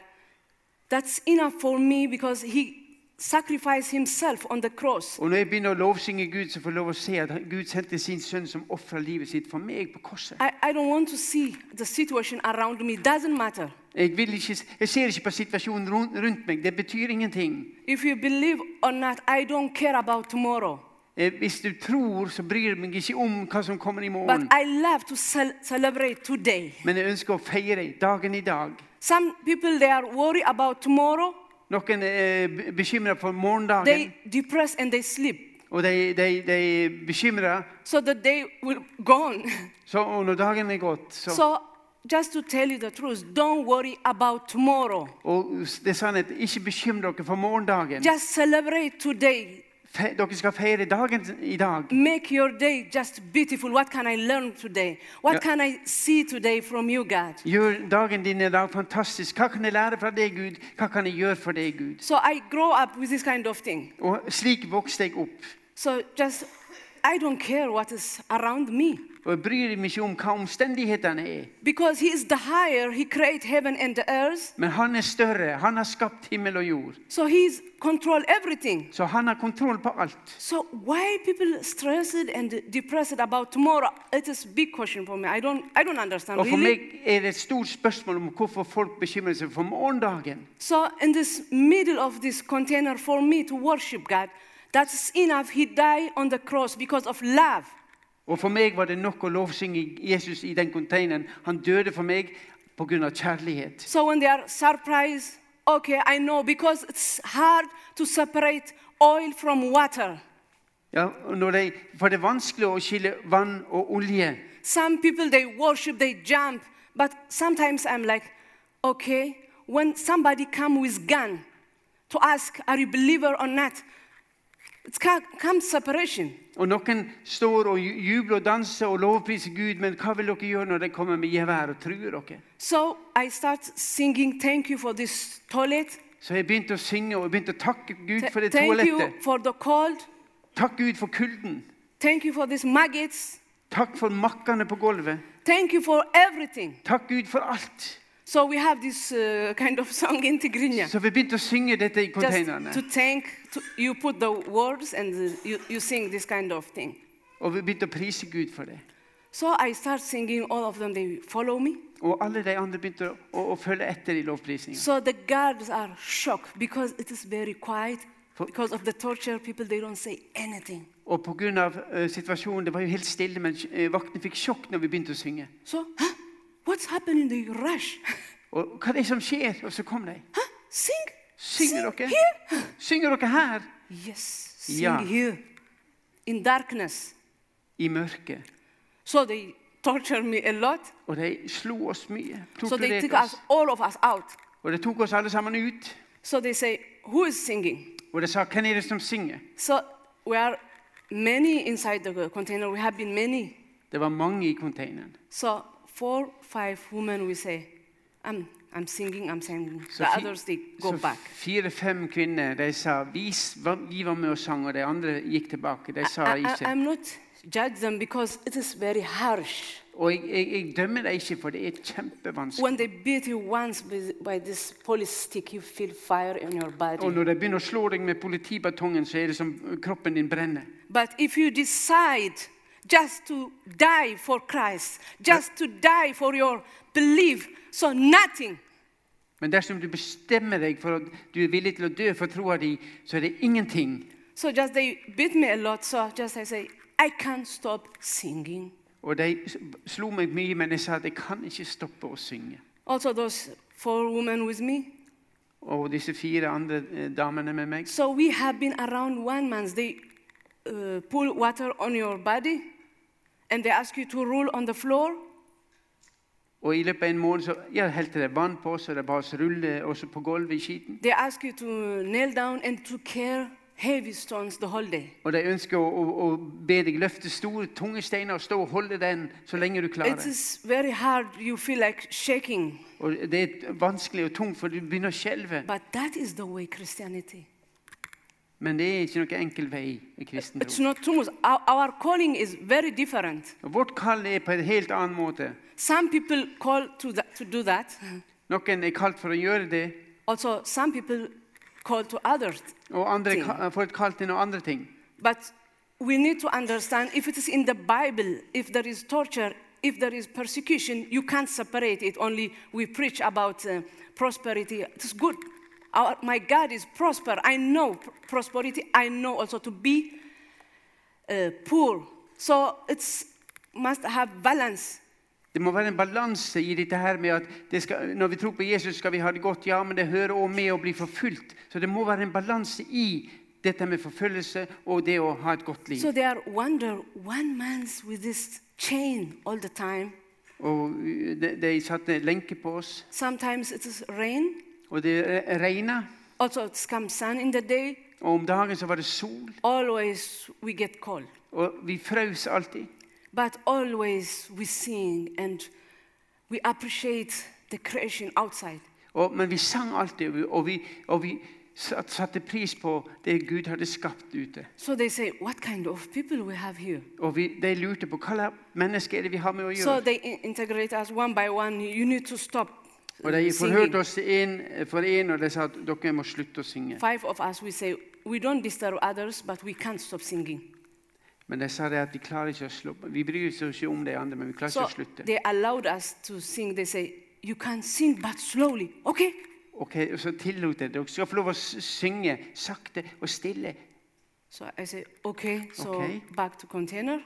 that's enough for me because He sacrificed Himself on the cross.
Og når jeg begynner å lovsynge Gud, så får jeg lov å se at Gud sendte sin sønn som ofra livet sitt for meg på korset.
I, I don't want to see the situation around me, doesn't matter.
Jeg, vil ikke, jeg ser ikke på situasjonen rundt, rundt meg. Det betyr ingenting.
If you believe or not, I don't care about tomorrow.
Eh, Hvis du tror, så bryr jeg meg ikke om hva som kommer i
But
morgen.
I love to cel- celebrate today.
Men jeg ønsker å feire dagen i dag.
Some people they are worried about tomorrow.
Noen er bekymra for
They
morgendagen,
depress and they sleep.
og de, de, de er bekymra.
So the day will gone.
Så og når dagen er gått, så
So just to tell you the truth, don't worry about tomorrow.
Og det er sannhet, ikke bekymre dere for morgendagen.
Just celebrate today.
Fe, dere skal feire dagen i dag.
Make your day just beautiful. What can I learn today? What
Yeah.
can I see today from you, God?
Gjør dagen din i dag fantastisk. Hva kan jeg lære fra deg, Gud? Hva kan jeg gjøre for deg, Gud?
So I grow up with this kind of thing.
Og slik vokste jeg opp.
So just I don't care what is around me.
Og jeg bryr meg ikke om hva omstendighetene er.
Because he is the higher, he created heaven and the earth.
Men han er større. Han har skapt himmel og jord.
So he's control everything.
Så han har kontroll på alt.
So why people stressed and depressed about tomorrow? It is big question for me. I don't I don't understand
Og for
really.
meg er det et stort spørsmål om hvorfor folk bekymrer seg for morgendagen.
So in this middle of this container for me to worship God, that's enough. He died on the cross because of love.
Og for meg var det nok å lovsynge Jesus i den containeren. Han døde for meg pga. kjærlighet.
So when they are surprised, okay, I know because it's hard to separate oil from water.
Ja, og når de, for det er vanskelig å skille vann og olje.
Some people they worship, they jump, but sometimes I'm like, okay, when somebody come with gun to ask, are you believer or not? It ca- comes separation.
Og noen står og ju- jubler og danser og lovpriser Gud, men hva vil dere gjøre når de kommer med gevær og truer dere?
So I start singing, thank you for this toilet.
Så jeg begynte å synge og jeg begynte å takke Gud
Th-
for det
thank you
toalettet.
for the cold.
Takk Gud for kulden.
Thank you for these maggots.
Takk for makkene på gulvet.
Thank you for everything.
Takk Gud for alt.
So we have this uh, kind of song in Tigrinya.
Så vi begynte å synge dette i
Just to
containerne.
thank, to, you put the words and uh, you, you sing this kind of thing.
Og vi begynte å prise Gud for det.
So I start singing, all of them, they follow me.
Og alle de andre begynte å, å, å følge etter i lovprisninga.
So the guards are shocked because it is very quiet.
For-
Because of the torture, people, they don't say anything.
Og pga. Uh, situasjonen, det var jo helt stille, men eh, vaktene fikk sjokk når vi begynte å synge.
So, huh? What's happening? They rush.
Og hva er det som skjer? Og så kom de.
huh? Sing?
Synger dere?
here?
Synger dere her?
Yes, sing
Ja.
here. In darkness.
i mørket.
So they tortured me a lot.
Og de slo oss mye.
So they took
Torturerte
us,
oss.
all of us out.
Og de tok oss alle sammen ut.
So they say, who is singing?
Og de sa, hvem er det som synger?
So we are many inside the container. We have been many.
Det var mange i containeren.
So four, five women, we say, I'm, I'm singing, I'm singing.
Så
The
fi-
others, they go
så
back.
Fire-fem kvinner de sa vi, s- var- vi var med og sang, og de andre gikk tilbake. De sa
I,
ikke
I, I'm not judge them because it is very harsh.
Og jeg, jeg, jeg dømmer dem ikke, for det er kjempevanskelig.
When they beat you once with, by this police stick, you feel fire in your body.
Og når de begynner å slå deg med politibatongen, så er det som kroppen din brenner.
But if you decide just to die for Christ, just to die for your belief, so nothing,
Men dersom du bestemmer deg for at du er villig til å dø for troa di, så er det ingenting.
so just they beat me a lot, so just I say, I can't stop singing.
Og de s- slo meg mye, men jeg sa at jeg kan ikke stoppe å synge.
Also, those four women with me.
Og disse fire andre eh, damene med meg.
So we have been around one month. They uh, pull water on your body and they ask you to roll on the floor.
Og i løpet av en måned så ja, helte de vann på oss, og de ba oss rulle også på gulvet i skiten.
They ask you to kneel down and to carry heavy stones the whole day.
Og de ønsker å, å, å be deg løfte store, tunge steiner og stå og holde den så lenge du
It
klarer.
is very hard. You feel like shaking.
Og det er vanskelig og tungt, for du begynner å skjelve.
But that is the way Christianity.
Men det er ikke noen enkel vei i kristen
It's
tro.
not too much. Our, our calling is very different.
Og Vårt kall er på en helt annen måte.
Some people call to, that, to do that.
Noen er kalt for å gjøre det,
Also, some people call to others.
og Oh, andre
Ting.
ka- får et kall til noen andre ting.
But we need to understand if it is in the Bible, if there is torture, if there is persecution, you can't separate it. Only we preach about uh, prosperity. It is good. Our, my God is prosper. I know pr- prosperity. I know also to be uh, poor. So it's must have balance.
Det må være en balanse i dette her med at det skal, når vi tror på Jesus, skal vi ha det godt. Ja, men det hører òg med å bli forfulgt. Så det må være en balanse i dette med forfølgelse og det å ha et godt liv.
So they are wonder one month with this chain all the time.
Og uh, de, de satte lenke på oss,
Sometimes it is rain.
og det re- regna.
Also it comes sun in the day.
Og om dagen så var det sol,
Always we get cold,
og vi frøs alltid.
but always we sing and we appreciate the creation outside.
Og, men vi sang alltid, og vi, og vi, og vi satt- satte pris på det Gud hadde skapt ute.
So they say, What kind of people we have here?
Og vi, de lurte på hva slags mennesker er det vi har med å
So
gjøre.
they in- integrate us one by one. You need to stop. uh,
Og de
singing.
forhørte oss en for en, og de sa at dere må slutte å synge.
Five of us, we say, We don't disturb others, but we can't stop singing.
Men de sa det at de klarer ikke å slutte. Vi bryr oss ikke om de andre, men vi klarer
So
ikke å slutte.
they allowed us to sing. They say, You can sing, but slowly. Okay?
Ok, og Så tillot de dere skal få lov å s- synge sakte og stille.
So I say, Okay. So
Okay.
back to container.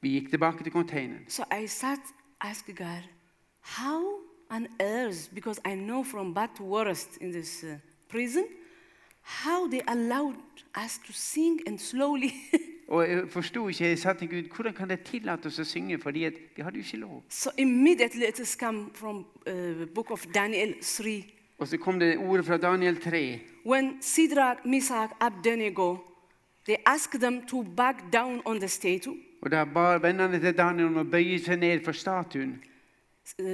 Vi gikk tilbake til containeren.
So I start asking God, how on earth, because I know from bad to worst in this uh, prison, how they allowed us to sing and slowly.
Og jeg forsto ikke, jeg sa til Gud, hvordan kan de tillate oss å synge? Fordi at vi hadde jo ikke lov.
so immediately it has come from uh, book of Daniel 3.
Og så kom det ordet fra Daniel 3.
When Sidrak, Misach, Abednego, they asked them to back down on the statue.
Og da ba vennene til Daniel om å bøye seg ned for statuen.
Uh,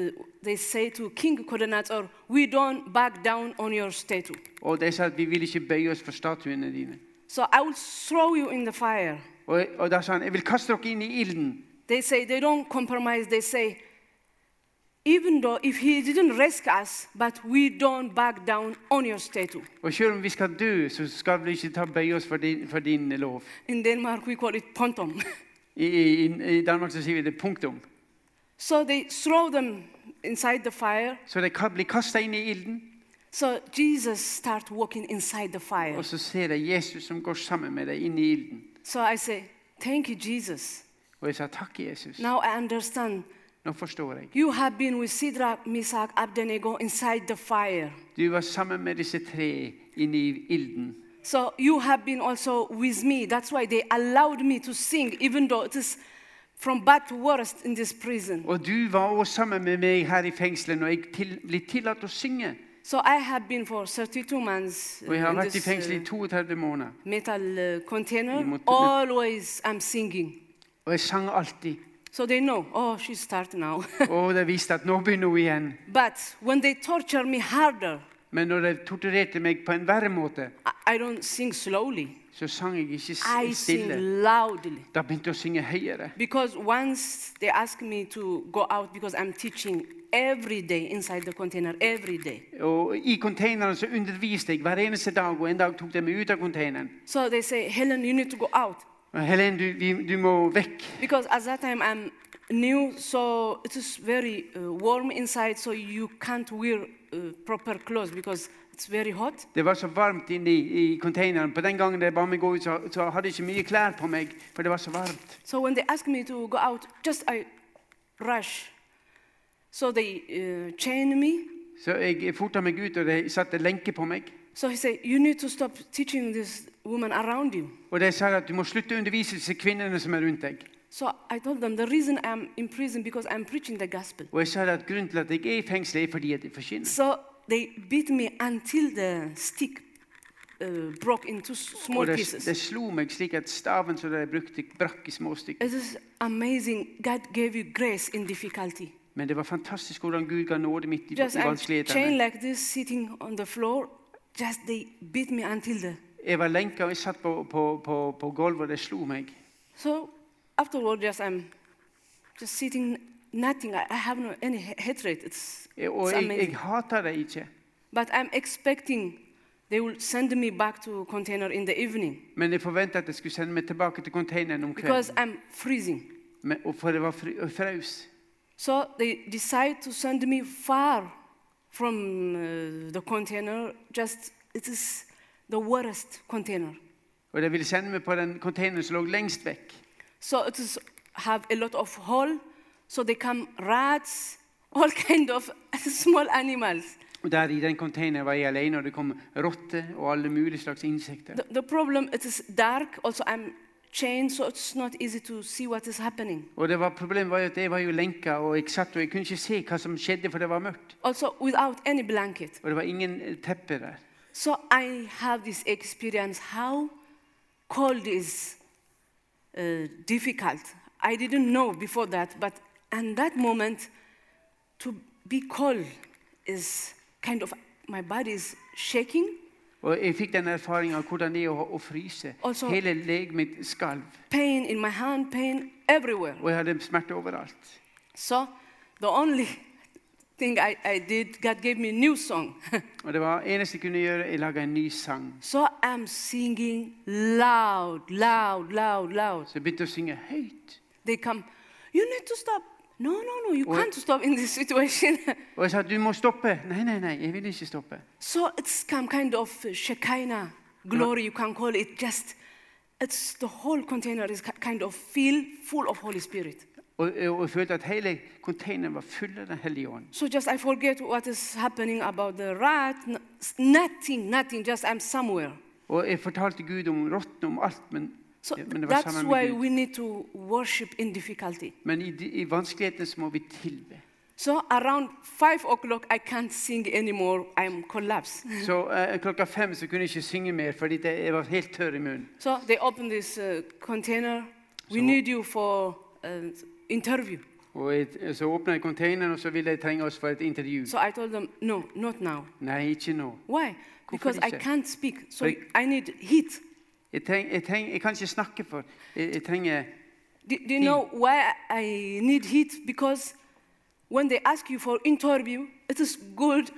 they say to King Kodonatsor, we don't back down on your statue.
Og de sa at vi vil ikke bøye oss for statuene dine.
So I will throw you in the fire.
Og, og da sa han jeg vil kaste dere inn i ilden.
They say they don't compromise. They say, even though if he didn't rescue us, but we don't back down on your statue.
Og selv om vi skal dø, så skal vi ikke ta bøye oss for din, for din lov.
In Denmark, we call it pontum.
I, i, I Danmark så sier vi det punktum.
so they throw them inside the fire.
Så de ka- blir kasta inn i ilden,
So Jesus start walking inside the fire.
og så ser de Jesus som går sammen med dem inn i ilden.
So I say, thank you, Jesus.
Og jeg sa takk, Jesus.
Now I understand.
Nå forstår jeg.
You have been with Sidrak, Meshach, Abednego inside the fire.
Du var sammen med disse tre inne i ilden.
So you have been also with me. That's why they allowed me to sing, even though it is from bad to worst in this prison.
Og du var også sammen med meg her i fengselet når jeg til, ble tillatt å synge.
So I have been for 32 months
Og jeg har
in
vært i
this
fengsel i
uh,
32 måneder.
metal uh,
You
container.
must-
Always I'm singing.
Og jeg sang alltid.
So they know, oh, she start now.
Og det viste at nå begynner hun igjen.
but when they torture me harder,
Men når de torturerte meg på en verre måte,
I, I don't sing slowly.
så sang jeg ikke
I
s- uh, stille.
sing loudly.
Da begynte jeg å synge høyere.
Because once they asked me to go out because I'm teaching every day inside the container, every day.
Og I containeren så underviste jeg hver eneste dag, og en dag tok de meg ut av containeren.
So they say, Helen, you need to go out.
Og Helen, du, vi, du må vekk.
Because at that time I'm new, so it is very uh, warm inside, so you can't wear uh, proper clothes because it's very hot.
Det var så varmt inne i, i containeren. På den gangen de ba meg gå ut, så, så hadde jeg ikke mye klær på meg, for det var så varmt.
So when they asked me to go out, just I rush. So they uh, chain me.
Så jeg forta meg ut, og de satte lenke på meg.
So he said, you need to stop teaching this woman around you.
Og de sa at du må slutte å undervise disse kvinnene som er rundt deg.
So I told them the reason I'm in prison because I'm preaching the gospel.
Og jeg sa at grunnen til at jeg er i fengsel, er fordi at jeg forkynner.
So they beat me until the stick uh, broke into s- small
Og de,
pieces.
de slo meg slik at staven som de brukte, brakk i små stykker.
It is amazing. God gave you grace in difficulty.
Men det var fantastisk hvordan Gud ga nåde midt i, i
Just I'm chained
vanskelighetene.
like this, sitting on the floor. Just they beat me until the.
Jeg var lenka, og jeg satt på, på, på, på gulvet, og de slo meg.
So afterward, just I'm just sitting, nothing. I, I have no any ha- hatred. It's,
Eh, Og
it's
jeg, jeg
amazing.
hata dem ikke.
But I'm expecting they will send me back to container in the evening
Men jeg forventa at de skulle sende meg tilbake til containeren om
because
kvelden.
I'm freezing.
Men, og for det var fri, og fraus.
So they decide to send me far from uh, the container. Just it is the worst container.
Og de ville sende meg på den containeren som lå lengst vekk.
So it is have a lot of hole. So they come rats, all kind of small animals.
Og der i den containeren var jeg alene, og det kom rotter og alle mulige slags insekter.
The, the problem it is dark. Also I'm chained, so it's not easy to see what is happening.
Og det var, problemet var jo at jeg var jo lenka, og jeg satt og jeg kunne ikke se hva som skjedde, for det var mørkt.
Also without any blanket.
Og det var ingen eh, teppe der.
So I have this experience how cold is uh, difficult. I didn't know before that, but in that moment, to be cold is kind of my body is shaking.
Og jeg fikk den erfaringen av hvordan det er å, å fryse.
Altså-
Hele legemet mitt skalv,
pain in my hand, pain everywhere.
og jeg hadde smerte overalt.
So the only thing I, I did, God gave me a new song.
Og det var eneste jeg kunne gjøre, jeg laga en ny sang.
so I'm singing loud, loud, loud, loud.
Så jeg begynte å synge høyt.
They come, you need to stop. No, no, no, you
Wait.
can't stop in this situation.
Og jeg sa du må stoppe. Nei, nei, nei, jeg vil ikke stoppe.
so it's some kind of Shekinah glory, you can call it. Just, it's the whole container is ki- kind of filled full of Holy Spirit.
Og, og jeg følte at hele containeren var full av Den hellige ånd.
So just I forget what is happening about the rat. n- s- Nothing, nothing. Just I'm somewhere.
Og jeg fortalte Gud om rottene, om alt, men,
So
ja, men det var
that's
sammen
why
med Gud.
we need to worship in difficulty.
Men i, de- i vanskelighetene så må vi tilbe.
So around five o'clock, I can't sing anymore. I'm collapsed.
Så eh, klokka fem så kunne jeg ikke synge mer, fordi det, jeg var helt tørr i munnen.
So they open this uh, container. We
So-
need you for an interview.
Og jeg, så åpna jeg containeren, og så ville de trenge oss for et intervju.
So I told them, no, not now.
Nei, ikke nå.
Why? Because I
Conference.
can't speak. So
Like-
I need heat.
Jeg, treng, jeg, treng, jeg kan ikke snakke for Jeg, jeg trenger
Do, do you know why I need heat? Because when they ask you for interview, it is good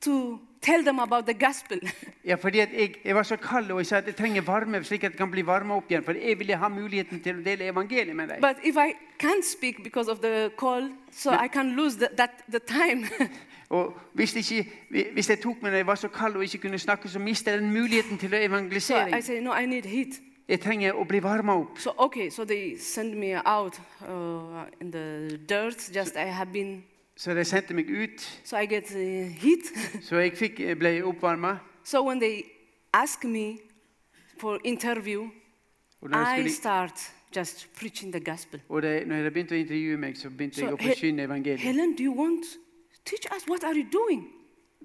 to tell them about the gospel.
Ja, fordi at jeg, jeg var så kald, og jeg sa at jeg trenger varme, slik at jeg kan bli varma opp igjen. For jeg ville ha muligheten til å dele evangeliet med deg.
but if I can't speak because of the cold, so I can lose the, that the time.
Og hvis, ikke, hvis jeg tok med deg, var så kald og ikke kunne snakke, så mister jeg den muligheten til å
so
evangelisere.
I say no, I need heat.
Jeg trenger å bli varma opp.
So okay, so they send me out uh, in the dirt. Just I have been,
Så de sendte meg ut.
so I get uh, heat.
eh, Så jeg fikk, ble oppvarma.
so when they ask me for interview,
Og, når jeg
I
skulle,
start just preaching the gospel.
og de, når de begynte å intervjue meg, så begynte
Så
jeg å
he-
forkynne evangeliet.
Helen, do you want teach us what are you doing?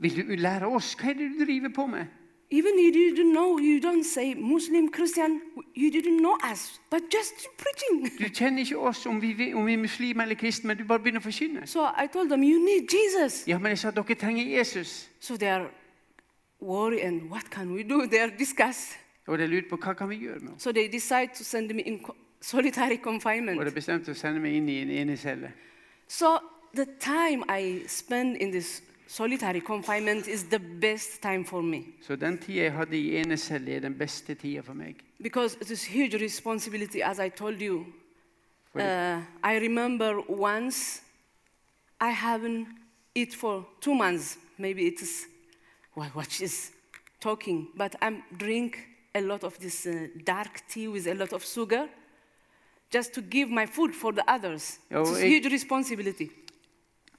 Vil du lære oss? Hva er det du driver på med?
Even you didn't know, you don't say Muslim, Christian, you didn't know us, but just preaching.
Du kjenner ikke oss om vi, vi- om vi er muslimer eller kristne, men du bare begynner å forkynne.
So I told them, you need Jesus.
Ja, men jeg sa dere trenger Jesus.
So they are worried and what can we do? They are discussed.
Og de lurte på hva kan vi gjøre med oss.
So they decide to send me in co- solitary
Og de
confinement.
bestemte å sende meg inn i en enecelle.
So the time I spend in this solitary confinement is the best time for me
Så den tida jeg hadde i enecelle, er den beste tida for meg.
because this huge responsibility, as I told you,
For det-
Uh, I remember once I haven't eat for two months. Maybe it is what, what is talking, but I'm drink a lot of this uh, dark tea with a lot of sugar just to give my food for the others.
Ja,
it's a
ik-
huge responsibility.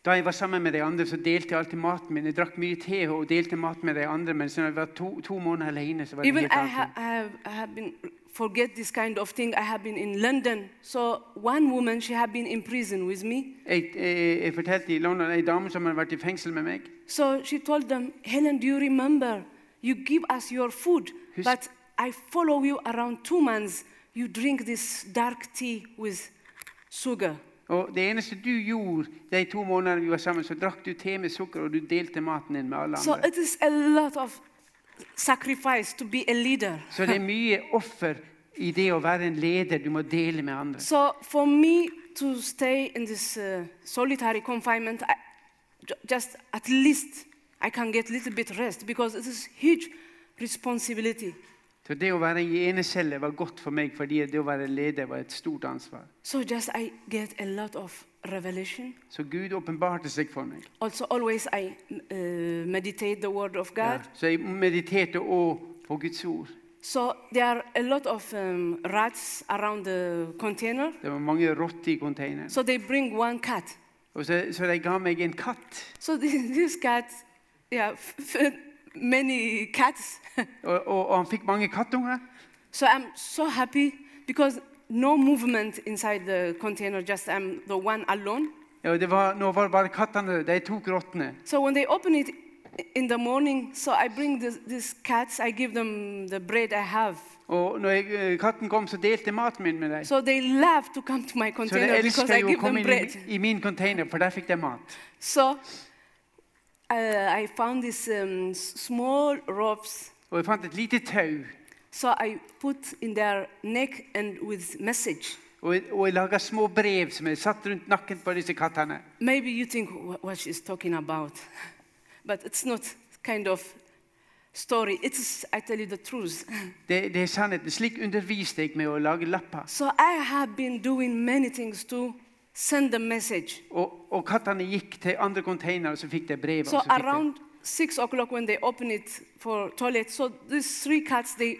Da jeg var sammen med de andre, så delte jeg alltid maten min. Jeg drakk mye te og delte mat med de andre, men så når jeg var to, to måneder alene, så var det
Even
helt
I,
annet.
ha- I, have, I have been forget this kind of thing. I have been in London, so one woman she had been in prison with me.
Jeg, jeg, jeg fortalte i London ei dame som hadde vært i fengsel med meg.
So she told them, Helen, do you remember? You give us your food,
Who's-
but I follow you around two months. You drink this dark tea with sugar.
Og det eneste du gjorde de to månedene vi var sammen, så drakk du te med sukker, og du delte maten din med alle
So
andre.
it is a lot of sacrifice to be a leader.
Så det er mye offer i det å være en leder du må dele med andre.
So for me to stay in this uh, solitary confinement, I, ju- just at least I can get a little bit rest because it is huge responsibility.
Så det å være i enecelle var godt for meg, fordi det å være leder var et stort ansvar.
So just I get a lot of revelation.
Så Gud åpenbarte seg for meg.
Also, always I uh, meditate the Word of
Ja.
God.
Så jeg mediterte òg på Guds ord.
So there are a lot of um, rats around the container.
Det var mange rotter i containeren.
So they bring one cat.
Og så, så de ga meg en katt.
So this, this cat, yeah, f- f- many cats.
Og, og, og han fikk mange kattunger.
so I'm so happy because no movement inside the container. Just I'm the one alone.
Ja, og det var, nå var det bare kattene. De tok rottene.
So when they open it in the morning, so I bring this, these cats. I give them the bread I have.
Og når jeg, eh, katten kom, så delte jeg maten min med dem.
So they love to come to
Så
my
de
container because
elsker
I
jo å
give
komme inn
them
i,
bread.
mi- i min container, for der fikk de mat.
So uh, I found these um, s- small ropes.
Og jeg fant et lite tau,
So I put in their neck and with message.
og jeg, og jeg laga små brev som jeg satt rundt nakken på disse kattene.
Maybe you think "Wh- what she's talking about, but it's not kind of story. It's I tell you the truth.
Det, det er sannheten. Slik underviste jeg med å lage lapper.
so I have been doing many things to send the message.
Og, og kattene gikk til andre containere, og så fikk de brev. og
So
så fikk de-
around six o'clock when they open it for toilet, so these three cats they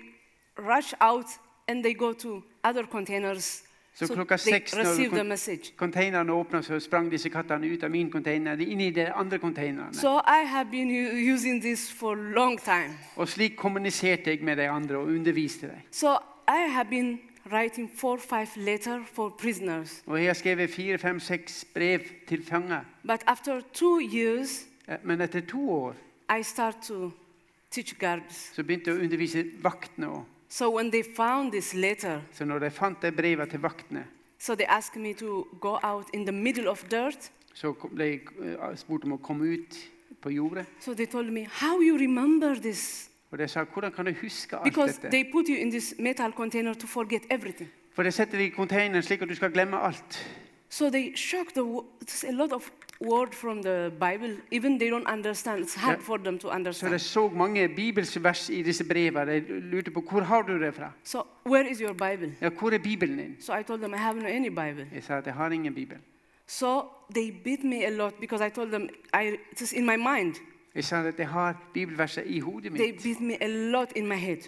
rush out and they go to other containers.
So klokka
they
seks når
receive the
kon-
message.
Containerne åpna, så sprang disse kattene ut av min container inn i de andre containerne.
So I have been u- using this for a long time.
Og slik kommuniserte jeg med de andre og underviste dem.
So I have been writing four, five letters for prisoners.
Og jeg har skrevet fire, fem, seks brev til fanger.
But after two years,
Eh, Men etter to år
I start to teach guards.
så begynte jeg å undervise vaktene òg.
So when they found this letter,
Så når de fant de breva til vaktene,
so they asked me to go out in the middle of dirt
så kom- ble jeg eh, spurt om å komme ut på jordet.
So they told me, How you remember this?
Og de sa 'Hvordan kan du huske alt
Because
dette?'
they put you in this metal container to forget everything.
For de setter deg i containeren slik at du skal glemme alt.
So they shock the wo- It's a lot of word from the Bible. Even they don't understand. It's hard
Yeah.
for them to
Så de
understand.
så mange bibelsvers i disse breva. De lurte på 'Hvor har du det fra?'
So where is your Bible?
Ja, 'Hvor er Bibelen din?'
So I told them I have no any Bible.
Jeg sa at 'Jeg har ingen Bibel'.
So they beat me a lot because I told them I, it is in my mind.
Jeg sa at 'Jeg har bibelverset i hodet
They
mitt'.
beat me a lot in my head,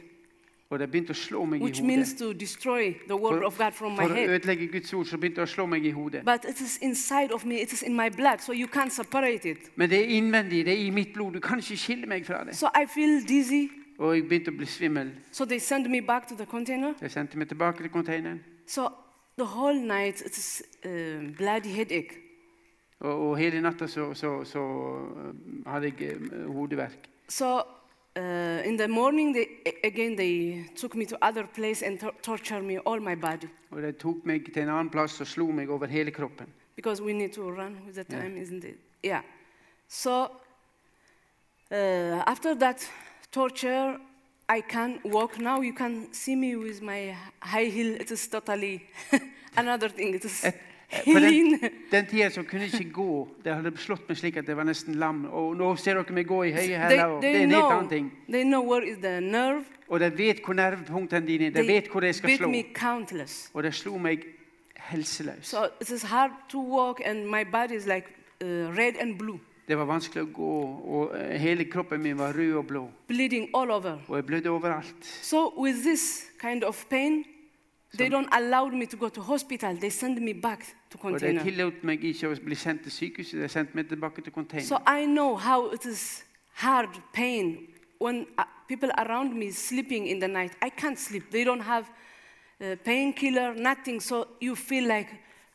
Og de begynte å slå meg i
which means
hodet.
to destroy the word
For,
of God from my
for å
head.
ødelegge Guds ord, så begynte de å slå meg i hodet.
But it is inside of me. It is in my blood. So you can't separate it.
Men det er innvendig, det er i mitt blod. Du kan ikke skille meg fra det.
So I feel dizzy.
Og jeg begynte å bli svimmel.
So they sent me back to the container.
De sendte meg tilbake til containeren.
So the whole night it's um bloody headache.
Og, og hele natta så, så, så eh, hadde jeg eh, hodeverk.
So uh, in the morning they a- again they took me to other place and tor- tortured me all my body
Og de tok meg til en annen plass og slo meg over hele kroppen.
because we need to run with the
Yeah.
time, isn't it? Yeah. So uh, after that torture. I can walk now. You can see me with my high heel. It is totally another thing. It is
Et, eh, på den,
healing.
den tida så kunne jeg ikke gå. De hadde slått meg slik at jeg var nesten lam. Og nå ser dere meg gå i høye
they,
hæler. og Det
they
er en helt
know,
annen ting.
they know where is the nerve.
Og de vet hvor nervepunktene dine er. De vet hvor de skal
beat
slå.
me countless.
Og de slo meg helseløs.
So it is hard to walk, and my body is like uh, red and blue,
Det var vanskelig å gå, og eh, hele kroppen min var rød og blå.
bleeding all over.
Og jeg blødde overalt.
So with this kind of pain, they don't allow me to go to hospital. They send me back to
Og de
container.
tillot meg ikke å bli sendt til sykehuset. De sendte meg tilbake til container.
So I know how it is hard pain when uh, people around me sleeping in the night. I can't sleep. They don't have uh, painkiller, nothing. So you feel like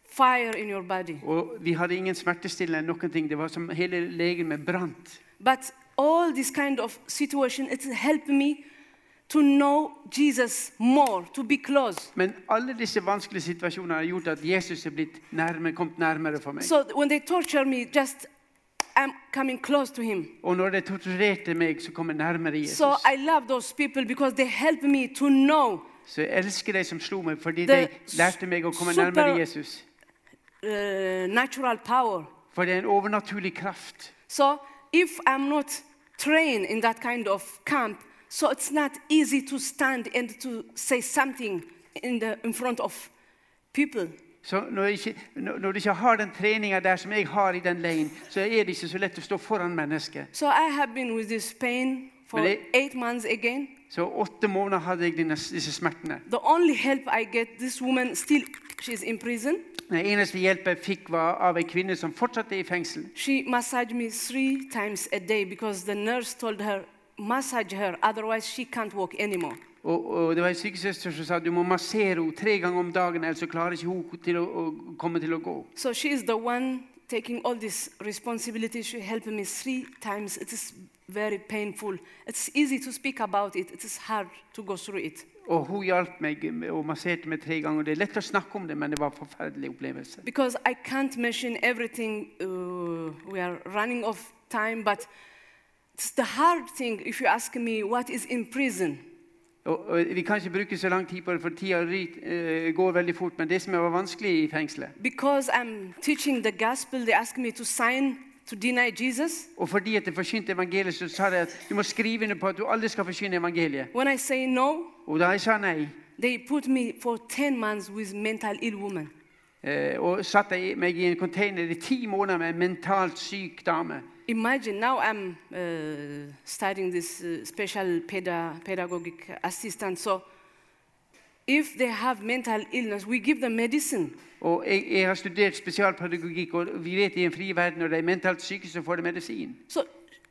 fire in your body.
Og vi hadde ingen smertestillende eller noen ting. Det var som hele legemet brant.
But all this kind of situation, it helped me to know Jesus more, to be close.
Men alle disse vanskelige situasjonene har gjort at Jesus er blitt nærme, kommet nærmere for meg.
So th- when they torture me, just I'm coming close to him.
Og når de torturerte meg, så kom jeg nærmere Jesus.
So I love those people because they help me to know
så jeg elsker de som slo meg, fordi de
The
lærte meg å komme
super-
nærmere Jesus.
uh, natural power.
For det er en overnaturlig kraft.
So if I'm not trained in that kind of camp, so it's not easy to stand and to say something in, the, in front of people.
Så når, jeg ikke, når når du ikke har den treninga der som jeg har i den leiren, så er det ikke så lett å stå foran mennesker.
So I have been with this pain for
But it-
eight months again.
Så åtte måneder hadde jeg denne, disse smertene.
The only help I get, this woman still, she's in prison.
Den eneste hjelpen jeg fikk, var av ei kvinne som fortsatt er i fengsel.
She massaged me three times a day because the nurse told her, massage her, otherwise she can't walk anymore.
Og, og det var ei sykesøster som sa du må massere henne tre ganger om dagen, ellers så klarer ikke hun til å, å komme til å gå.
So she is the one taking all this responsibility. She helped me three times. It is very painful. It's easy to speak about it. It is hard to go through it.
Og hun hjalp meg med- og masserte meg tre ganger. Det er lett å snakke om det, men det var en forferdelig opplevelse.
Because I can't mention everything, uh, we are running of time, but it's the hard thing if you ask me what is in prison.
Og, og Vi kan ikke bruke så lang tid på det, for tida ry- eh, går veldig fort. Men det som var vanskelig i fengselet
Because I'm teaching the gospel, they ask me to sign to deny Jesus.
Og fordi at jeg forkynte evangeliet, så sa de at du må skrive under på at du aldri skal forkynne evangeliet.
When I say no,
Og da jeg sa nei,
they put me for 10 months with mental ill woman.
eh, og satt jeg meg i en container i ti måneder med en mentalt syk dame.
Imagine now I'm uh, studying this uh, special peda- pedagogic assistant. So if they have mental illness, we give them medicine.
Og jeg, jeg har studert spesialpedagogikk, og vi vet i en fri verden når de er mentalt syke, så får de medisin.
So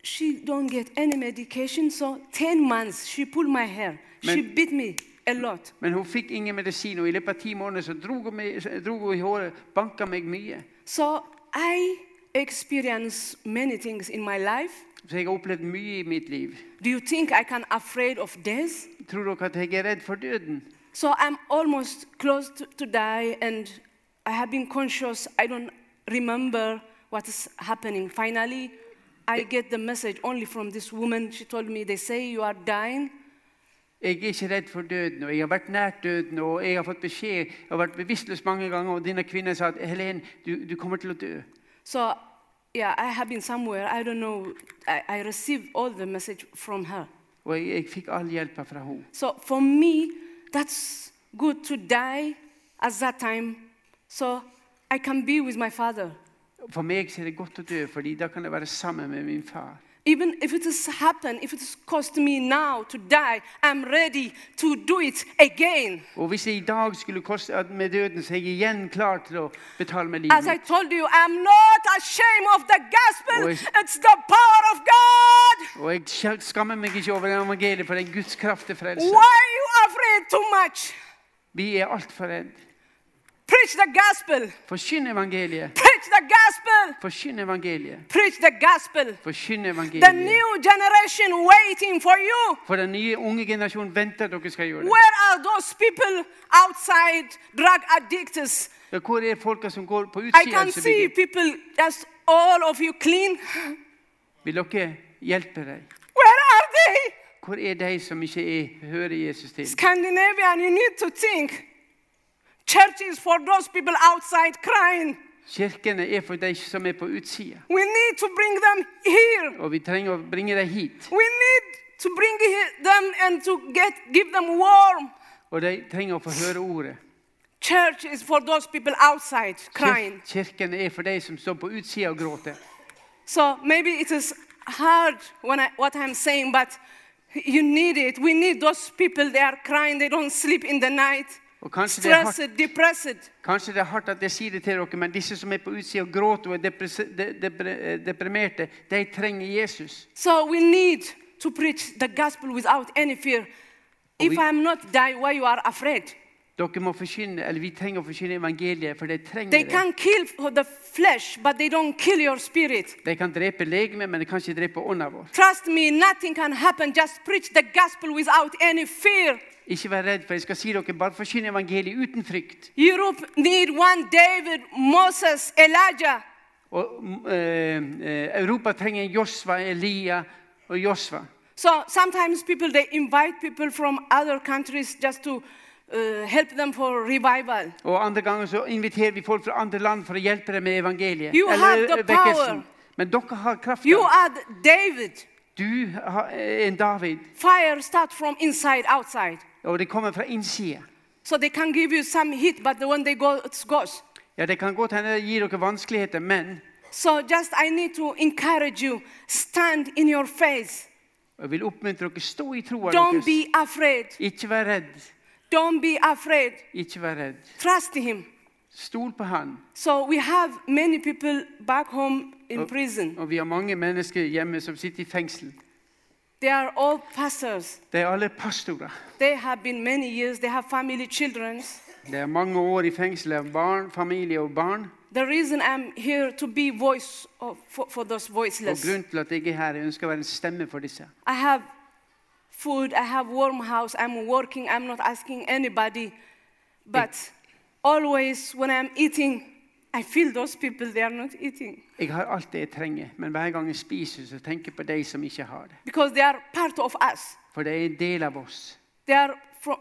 she don't get any medication. So 10 months she pulled my hair. she
Men-
beat me a lot.
Men hun fikk ingen medisin, og i løpet av ti måneder så dro hun, meg, dro hun i håret, banka meg mye.
So I experience many things in my life.
Så jeg har opplevd mye i mitt liv.
Do you think I can afraid of death?
Tror dere at jeg er redd for døden?
So I'm almost close to, to die and I have been conscious. I don't remember what is happening. Finally, I get the message only from this woman. She told me, they say you are dying.
Jeg er ikke redd for døden, og jeg har vært nært døden, og jeg har fått beskjed, jeg har vært bevisstløs mange ganger, og denne kvinnen sa at Helen, du, du kommer til å dø.
So yeah, I have been somewhere. I don't know. I, I received all the message from her.
Og jeg, jeg fikk all hjelpa fra henne.
So for me, that's good to die at that time. So I can be with my father.
For meg så er det godt å dø, fordi da kan jeg være sammen med min far.
Even if it has happened, if it has cost me now to die, I'm ready to do it again.
Og hvis jeg i dag skulle koste at med døden, så er jeg igjen klar til å betale med livet.
As I told you, I'm not ashamed of the gospel.
Oi.
It's the power of God.
Og jeg skja- skammer meg ikke over evangeliet, for det er Guds kraft til frelse.
Why are you afraid too much?
Vi er altfor redde.
Preach the gospel.
Forkynn evangeliet.
Preach the gospel.
Forkynn evangeliet.
Preach the gospel.
Forkynn
The
evangeliet.
new generation waiting for you.
For den nye unge generasjonen venter at dere skal gjøre det.
Where are those people outside, drug addicts?
Ja, Hvor er folka som går på
I can
utsiden? som
see
vil-
people, just all of you clean.
Vil dere hjelpe deg?
Where are they?
Hvor er de som ikke er, hører Jesus til?
Scandinavian, you need to think. Church is for those people outside crying.
Kirkene er for de som er på utsida.
We need to bring them here.
Og vi trenger å bringe dem hit.
We need to bring he- them and to get give them warm.
Og de trenger å få høre ordet.
Church is for those people outside crying.
Kir- Kirkene er for de som står på utsida og gråter.
So maybe it is hard when I, what I'm saying, but you need it. We need those people. They are crying. They don't sleep in the night.
Og kanskje det, er hardt,
Stressed, depressed.
kanskje det er hardt at jeg sier det til dere, men disse som er på utsida og gråter og er depress- de, depre- eh, deprimerte, de trenger Jesus.
So we need to preach the gospel without any fear. If
we-
I'm not die, why you are afraid?
Dere må forkynne, eller Vi trenger å forkynne evangeliet, for de trenger
They
det.
can kill for the flesh, but they don't kill your spirit.
De kan drepe legemet, men de kan ikke drepe ånda vår.
Trust me, nothing can happen. Just preach the gospel without any fear.
Ikke vær redd, for jeg skal si dere, bare forkynn evangeliet uten frykt.
Europe need one David, Moses, Elijah.
Og mm, eh, eh, Europa trenger Josva, Elia og Josva.
So sometimes people they invite people from other countries just to uh, help them for revival.
Og andre ganger så inviterer vi folk fra andre land for å hjelpe dem med evangeliet.
You have the
eh, vekkelsen.
power.
Men dere har kraften.
You are the David.
Du har- er en David,
Fire start from inside outside.
og det kommer fra innsida.
So they can give you some heat, but the one they go, it goes.
Ja, det kan godt hende det gir dere vanskeligheter, men
So just I need to encourage you. Stand in your faith.
jeg vil oppmuntre dere stå i troa
Don't
deres.
be afraid.
Ikke vær redd.
Don't be afraid.
Ikke vær redd.
Trust Him.
Stol på Han.
So we have many people back home in
Uh,
prison.
Og vi har mange mennesker hjemme som sitter i fengsel.
They are all pastors.
De er alle pastorer.
They have been many years. They have family, children.
Det er mange år i fengsel av barn, familie og barn.
The reason I'm here to be voice of, for, for those
Og
voiceless.
grunnen til at jeg er her, jeg ønsker å være en stemme for disse.
I have food, I have warm house, I'm working, I'm not asking anybody. But always when I'm eating, I feel those people they are not eating
Jeg har alt det jeg trenger, men hver gang jeg spiser, så tenker jeg på de som ikke har det.
because they are part of us.
For de er en del av oss.
They are from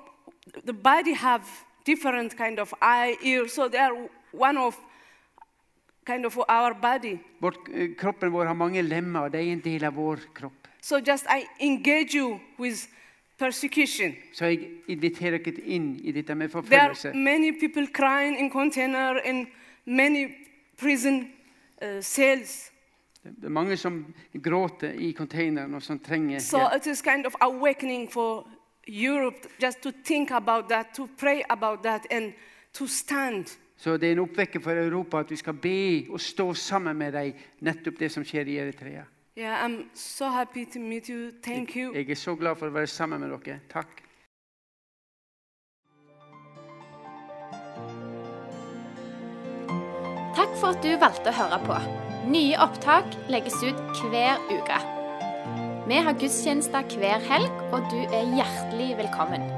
the body have different kind of eye, ear, so they are one of kind of our body.
Vårt, eh, kroppen vår har mange lemmer, og de er en del av vår kropp.
So just I engage you with persecution.
Så jeg inviterer dere inn i dette med
There
forfølgelse.
are many people crying in container in many prison uh, cells.
Det er mange som gråter i containeren, og som trenger
So
hjelp.
it is kind of awakening for Europe just to think about that, to pray about that, and to stand.
Så det er en oppvekker for Europa at vi skal be og stå sammen med dem, nettopp det som skjer i Eritrea.
Yeah, I'm so happy to meet you. Thank you.
Jeg er så glad for å være sammen med dere. Takk.
Takk for at du valgte å høre på. Nye opptak legges ut hver uke. Vi har gudstjenester hver helg, og du er hjertelig velkommen.